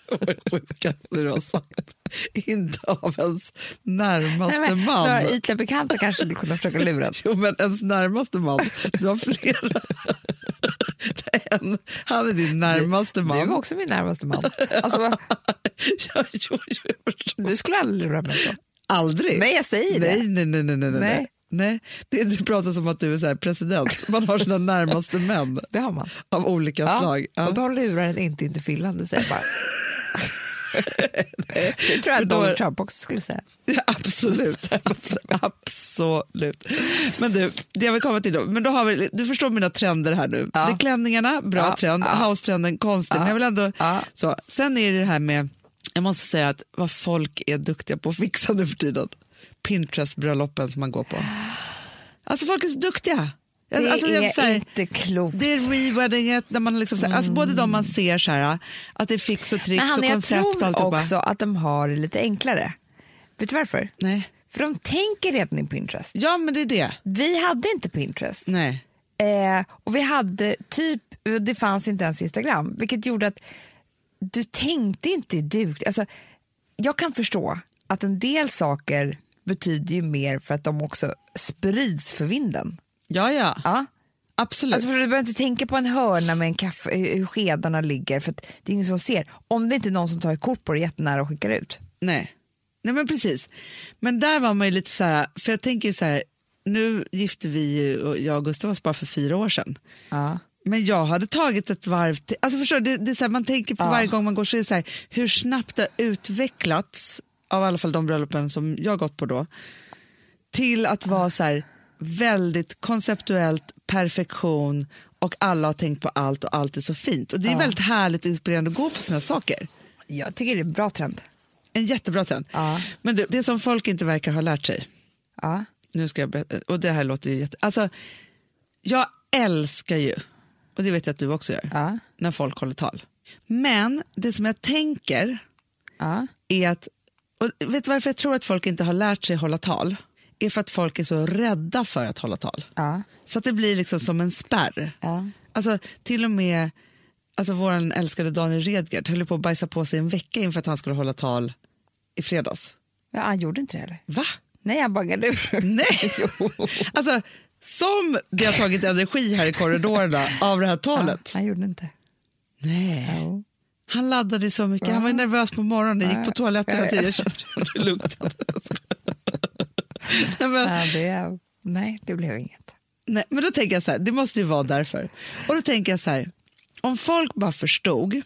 Speaker 1: Det var det sjukaste du har sagt. Inte av ens närmaste
Speaker 6: Nej, men,
Speaker 1: man.
Speaker 6: Några ytliga bekanta kanske skulle kunna försöka lura en.
Speaker 1: Jo, men ens närmaste man. Du har flera. En, han är din närmaste man.
Speaker 6: Du var också min närmaste man. Alltså,
Speaker 1: Ja, jo, jo, jag förstår.
Speaker 6: du skulle aldrig lura mig så.
Speaker 1: Aldrig.
Speaker 6: Nej, jag säger det.
Speaker 1: nej, nej, nej, nej, nej, nej.
Speaker 6: Nej.
Speaker 1: nej. nej. Det, du pratar som att du är så här president. Man har sina närmaste män
Speaker 6: Det har man.
Speaker 1: av olika slag. Ja.
Speaker 6: Och de lurar en inte in till Finland, det säger jag bara. Det tror jag att
Speaker 1: Då-
Speaker 6: Donald Trump också skulle säga.
Speaker 1: Ja, absolut. absolut. Men du, det jag vill komma till då. Men då har vi, du förstår mina trender här nu.
Speaker 6: Ja.
Speaker 1: Det är klänningarna, bra
Speaker 6: Ja,
Speaker 1: trend.
Speaker 6: ja.
Speaker 1: House-trenden, konstig.
Speaker 6: Ja,
Speaker 1: Men jag vill ändå,
Speaker 6: ja.
Speaker 1: så. Sen är det det här med, jag måste säga att vad folk är duktiga på att fixa nu för tiden. Pinterest-bröllopen som man går på. Alltså folk är så duktiga.
Speaker 6: Det
Speaker 1: alltså, jag vill
Speaker 6: är
Speaker 1: säga-
Speaker 6: inte klokt.
Speaker 1: det är re-weddinget, när man liksom, så här- alltså, både de man ser så här, att det är fix och
Speaker 6: Mm. Men
Speaker 1: tricks och
Speaker 6: Hanna, jag
Speaker 1: koncept och
Speaker 6: tror
Speaker 1: alltihopa.
Speaker 6: också att de har det lite enklare. Vet du varför?
Speaker 1: Nej.
Speaker 6: För de tänker redan i Pinterest.
Speaker 1: Ja, men det är det.
Speaker 6: Vi hade inte Pinterest.
Speaker 1: Nej.
Speaker 6: Eh, och vi hade typ, det fanns inte ens Instagram, vilket gjorde att du tänkte inte i duk. Alltså, jag kan förstå att en del saker betyder ju mer för att de också sprids för vinden.
Speaker 1: Ja, ja.
Speaker 6: Ja.
Speaker 1: Absolut.
Speaker 6: Alltså, för du behöver inte tänka på en hörna med en kaffe, eh, hur hur skedarna ligger, för att det är ingen som ser. Om det inte är någon som tar ett kort på det jättenära och skickar ut.
Speaker 1: Nej. Nej, men precis. Men där var man ju lite så här, för jag tänker ju så här, nu gifte vi ju, och jag och Gustav oss bara för fyra år sedan.
Speaker 6: Ja.
Speaker 1: Men jag hade tagit ett varv till, alltså förstår du, det, det är så här, man tänker på varje gång man går så är det så här, hur snabbt det har utvecklats, av i alla fall de bröllopen som jag gått på då, till att vara så här väldigt konceptuellt, perfektion och alla har tänkt på allt och allt är så fint. Och det är väldigt härligt och inspirerande att gå på sina saker.
Speaker 6: Jag tycker det är en bra trend.
Speaker 1: En jättebra trend.
Speaker 6: Ja.
Speaker 1: Men det, det som folk inte verkar ha lärt sig,
Speaker 6: Ja.
Speaker 1: nu ska jag berätta, och det här låter ju jätte... Alltså, jag älskar ju, och det vet jag att du också gör,
Speaker 6: Ja.
Speaker 1: när folk håller tal. Men det som jag tänker
Speaker 6: Ja.
Speaker 1: är att, och vet du varför jag tror att folk inte har lärt sig hålla tal? Är för att folk är så rädda för att hålla tal.
Speaker 6: Ja.
Speaker 1: Så att det blir liksom som en spärr.
Speaker 6: Ja.
Speaker 1: Alltså till och med alltså, vår älskade Daniel Redgert höll ju på att bajsa på sig en vecka inför att han skulle hålla tal i fredags.
Speaker 6: Ja, han gjorde inte det heller.
Speaker 1: Va?
Speaker 6: Nej, han bangade ur.
Speaker 1: Nej! Alltså, som det har tagit energi här i korridorerna av det här talet.
Speaker 6: Han gjorde inte.
Speaker 1: Nej. Han laddade så mycket. Han var ju nervös på morgonen, gick på toaletten hela tiden. Jag kände hur det luktade. Nej, men,
Speaker 6: Ja, det, nej, det blev inget.
Speaker 1: nej, men då tänker jag så här, det måste ju vara därför. Och då tänker jag så här, om folk bara förstod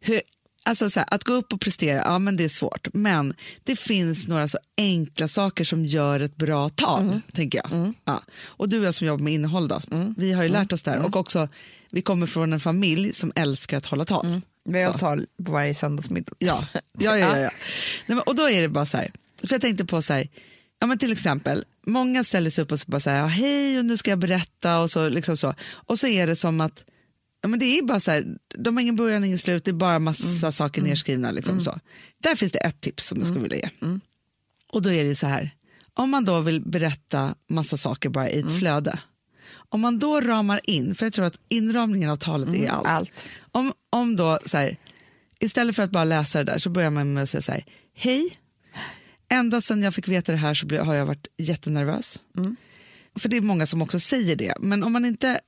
Speaker 1: hur, alltså så här, att gå upp och prestera, ja men det är svårt. Men det finns några så enkla saker som gör ett bra tal, tänker jag. Ja. Och du och jag som jobbar med innehåll då, vi har ju lärt oss det här. Och också, vi kommer från en familj som älskar att hålla tal.
Speaker 6: Vi har
Speaker 1: Så.
Speaker 6: tal på varje söndagsmiddag.
Speaker 1: Ja, ja, ja. ja, ja. Nej, men, och då är det bara så här, för jag tänkte på så här, ja men till exempel, många ställer sig upp och så bara så här, ja, hej och nu ska jag berätta och så liksom så. Och så är det som att, ja men det är bara så här, de har ingen början, ingen slut, det är bara massa saker nedskrivna liksom så. Där finns det ett tips som jag skulle vilja ge. Och då är det så här, om man då vill berätta massa saker bara i ett flöde, om man då ramar in, för jag tror att inramningen av talet är allt.
Speaker 6: allt.
Speaker 1: Om, om då så här, istället för att bara läsa det där så börjar man med att säga så här, hej, ända sedan jag fick veta det här så blev- har jag varit jättenervös. För det är många som också säger det, men om man inte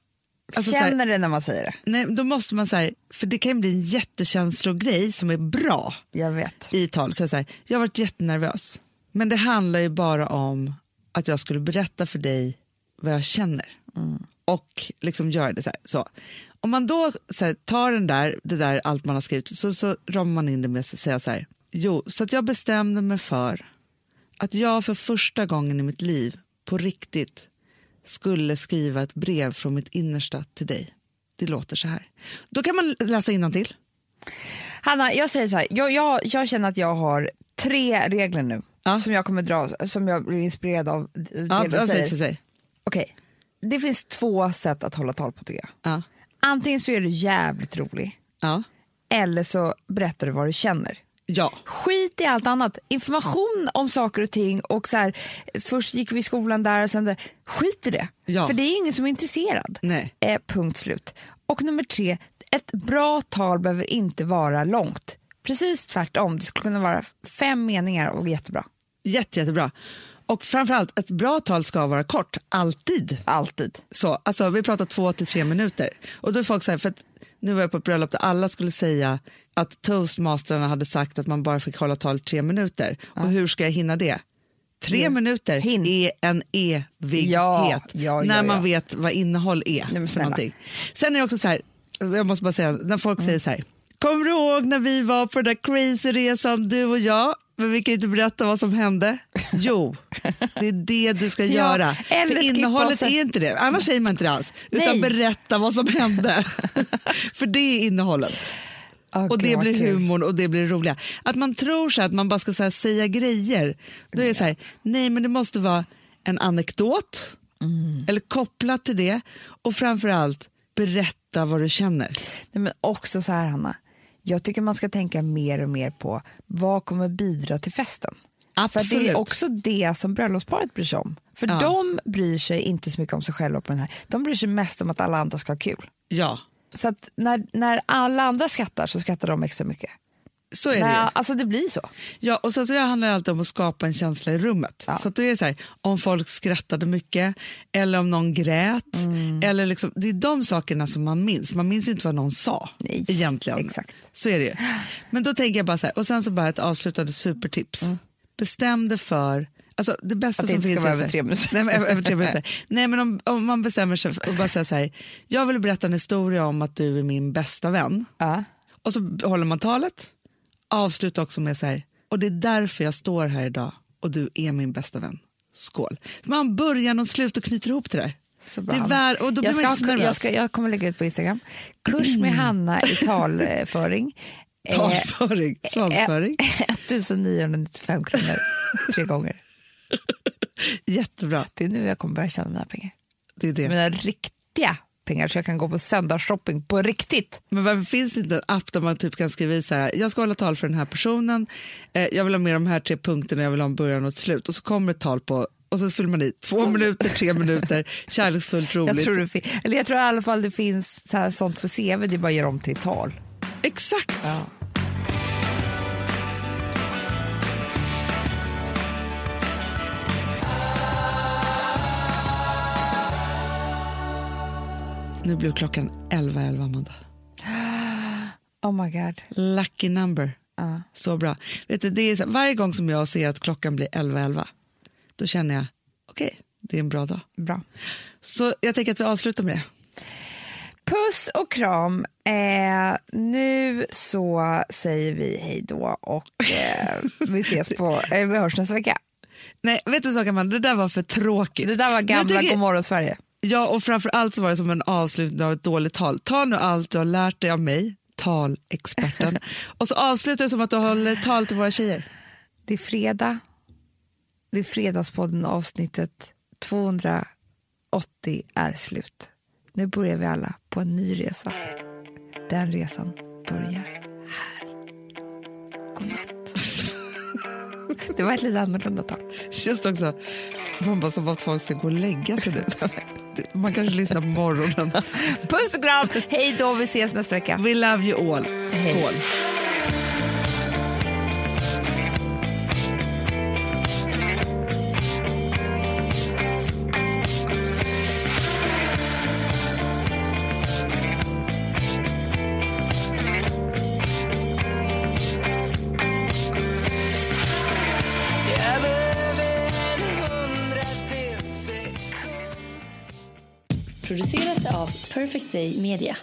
Speaker 1: alltså, så här,
Speaker 6: Känner det när man säger det.
Speaker 1: nej, då måste man så här, för det kan ju bli en jättekänslogrej som är bra
Speaker 6: Jag vet.
Speaker 1: i tal säga så här, jag har varit jättenervös. Men det handlar ju bara om att jag skulle berätta för dig vad jag känner.
Speaker 6: Mm.
Speaker 1: och liksom göra det så här. Så. Om man då så här, tar den där, det där allt man har skrivit så, så ramar man in det med att säga så här. Jo, så att jag bestämde mig för att jag för första gången i mitt liv på riktigt skulle skriva ett brev från mitt innersta till dig. Det låter så här. Då kan man läsa innantill. till.
Speaker 6: Hanna, jag säger så här. Jag, jag, jag känner att jag har tre regler nu som jag kommer dra, som jag blir inspirerad av det
Speaker 1: Ja,
Speaker 6: du
Speaker 1: ja,
Speaker 6: säger.
Speaker 1: säg, säg, säg.
Speaker 6: Okej, det finns två sätt att hålla tal på tycker jag.
Speaker 1: Ja.
Speaker 6: Antingen så är du jävligt rolig
Speaker 1: Ja.
Speaker 6: eller så berättar du vad du känner.
Speaker 1: ja.
Speaker 6: Skit i allt annat. Information om saker och ting och så här, först gick vi i skolan där och sen där. Skit i det.
Speaker 1: Ja.
Speaker 6: För det är ingen som är intresserad.
Speaker 1: Nej.
Speaker 6: Eh, punkt slut. Och nummer tre, ett bra tal behöver inte vara långt. Precis tvärtom, det skulle kunna vara fem meningar och jättebra.
Speaker 1: Jätte, jättebra. Och framförallt, ett bra tal ska vara kort, alltid.
Speaker 6: Alltid.
Speaker 1: Så, alltså, vi pratar två till tre minuter. Och då är folk så här, för att nu var jag på ett bröllop där alla skulle säga att toastmasterna hade sagt att man bara fick hålla tal i tre minuter. Och hur ska jag hinna det? Tre minuter
Speaker 6: Hin.
Speaker 1: är en evighet
Speaker 6: Ja, ja,
Speaker 1: när
Speaker 6: ja,
Speaker 1: man
Speaker 6: ja.
Speaker 1: vet vad innehåll är.
Speaker 6: men
Speaker 1: för
Speaker 6: snälla. Mm.
Speaker 1: någonting. Sen är det också så här, jag måste bara säga, när folk säger så här, kommer du ihåg när vi var på den där crazy resan du och jag? Men vi kan inte berätta vad som hände. Jo, det är det du ska
Speaker 6: Ja,
Speaker 1: göra.
Speaker 6: eller
Speaker 1: För
Speaker 6: skippa
Speaker 1: innehållet
Speaker 6: och sen-
Speaker 1: är inte det, annars säger man inte det alls. Utan
Speaker 6: Nej.
Speaker 1: berätta vad som hände. För det är innehållet. Och det blir humorn och det blir det roliga. Att man tror så här, att man bara ska så här, säga grejer. Då är det så här, nej men det måste vara en anekdot.
Speaker 6: Mm.
Speaker 1: Eller kopplat till det. Och framförallt, berätta vad du känner.
Speaker 6: Nej, men också så här Hanna, jag tycker man ska tänka mer och mer på vad kommer bidra till festen. För det
Speaker 1: Absolut.
Speaker 6: är också det som bröllopsparet bryr sig om. För
Speaker 1: Ja.
Speaker 6: de bryr sig inte så mycket om sig själva på den här. De bryr sig mest om att alla andra ska ha kul.
Speaker 1: Ja,
Speaker 6: Så att när, när alla andra skrattar så skrattar de extra mycket.
Speaker 1: så är det ju.
Speaker 6: Nej, alltså det blir så.
Speaker 1: Ja, och sen så det handlar det alltid om att skapa en känsla i rummet.
Speaker 6: Ja.
Speaker 1: Så att då är det så här, om folk skrattade mycket eller om någon grät.
Speaker 6: Mm.
Speaker 1: Eller liksom, det är de sakerna som man minns. Man minns ju inte vad någon sa
Speaker 6: Nej,
Speaker 1: egentligen.
Speaker 6: exakt.
Speaker 1: Så är det ju. Men då tänker jag bara så här, och sen så bara ett avslutande supertips. Bestäm dig för, alltså det bästa
Speaker 6: Mm. Att det
Speaker 1: som
Speaker 6: inte ska
Speaker 1: finns
Speaker 6: vara
Speaker 1: är så här-
Speaker 6: över tre minuter.
Speaker 1: Nej, men, över- över tre minuter. Nej, men om, om man bestämmer sig för att bara säga så här, jag vill berätta en historia om att du är min bästa vän.
Speaker 6: Ja.
Speaker 1: Och så håller man talet, avslutar också med så här, och det är därför jag står här idag och du är min bästa vän. Skål. Så man börjar och slut och knyter ihop det där.
Speaker 6: Så
Speaker 1: Det är vär- och då blir man
Speaker 6: jag, ska,
Speaker 1: inte så
Speaker 6: ha-
Speaker 1: nervös.
Speaker 6: jag, ska, jag kommer lägga ut på Instagram. Kurs med Hanna i talföring. Eh,
Speaker 1: Talföring, svansföring.
Speaker 6: 1995 kronor tre gånger.
Speaker 1: Jättebra,
Speaker 6: Det är nu jag kommer börja tjäna mina pengar.
Speaker 1: det är det.
Speaker 6: Mina riktiga pengar så jag kan gå på söndagsshopping på riktigt.
Speaker 1: Men varför finns det inte en app där man typ kan skriva i så här, jag ska hålla tal för den här personen, eh, jag vill ha med de här tre punkterna, jag vill ha en början och ett slut. Och så kommer ett tal på, och så fyller man i två minuter, tre minuter, kärleksfullt, roligt.
Speaker 6: Jag tror, det fin- eller jag tror i alla fall det finns så här, sånt för CV, det är bara att göra om till tal.
Speaker 1: Exakt. Nu blev klockan 11.11, Amanda.
Speaker 6: Oh my god.
Speaker 1: Lucky number. Så bra. Vet du, det är så, varje gång som jag ser att klockan blir 11.11 då känner jag okej, det är en bra dag.
Speaker 6: Bra.
Speaker 1: Så jag tänker att vi avslutar med det.
Speaker 6: Puss och kram. Eh, nu så säger vi hej då och eh, vi ses på, eh, vi hörs nästa vecka.
Speaker 1: Nej, vet du en sak Amanda, det där var för tråkigt.
Speaker 6: Det där var
Speaker 1: Nu
Speaker 6: gamla
Speaker 1: tycker-
Speaker 6: Godmorgon Sverige.
Speaker 1: Ja, och framför allt så var det som en avslutning av ett dåligt tal. Ta nu allt du har lärt dig av mig, talexperten, och så avslutar det som att du håller tal till våra tjejer.
Speaker 6: Det är fredag. Det är Fredagspodden avsnittet 280 är slut. Nu börjar vi alla på en ny resa. Den resan börjar här. Godnatt. Det var ett lite annorlunda tag.
Speaker 1: Just också, man bara som att folk ska gå och lägga sig nu. Man kanske lyssnar på morgonen.
Speaker 6: Puss och kram! Hej då, vi ses nästa vecka.
Speaker 1: We love you all. Skål.
Speaker 7: Producerat av Perfect Day Media.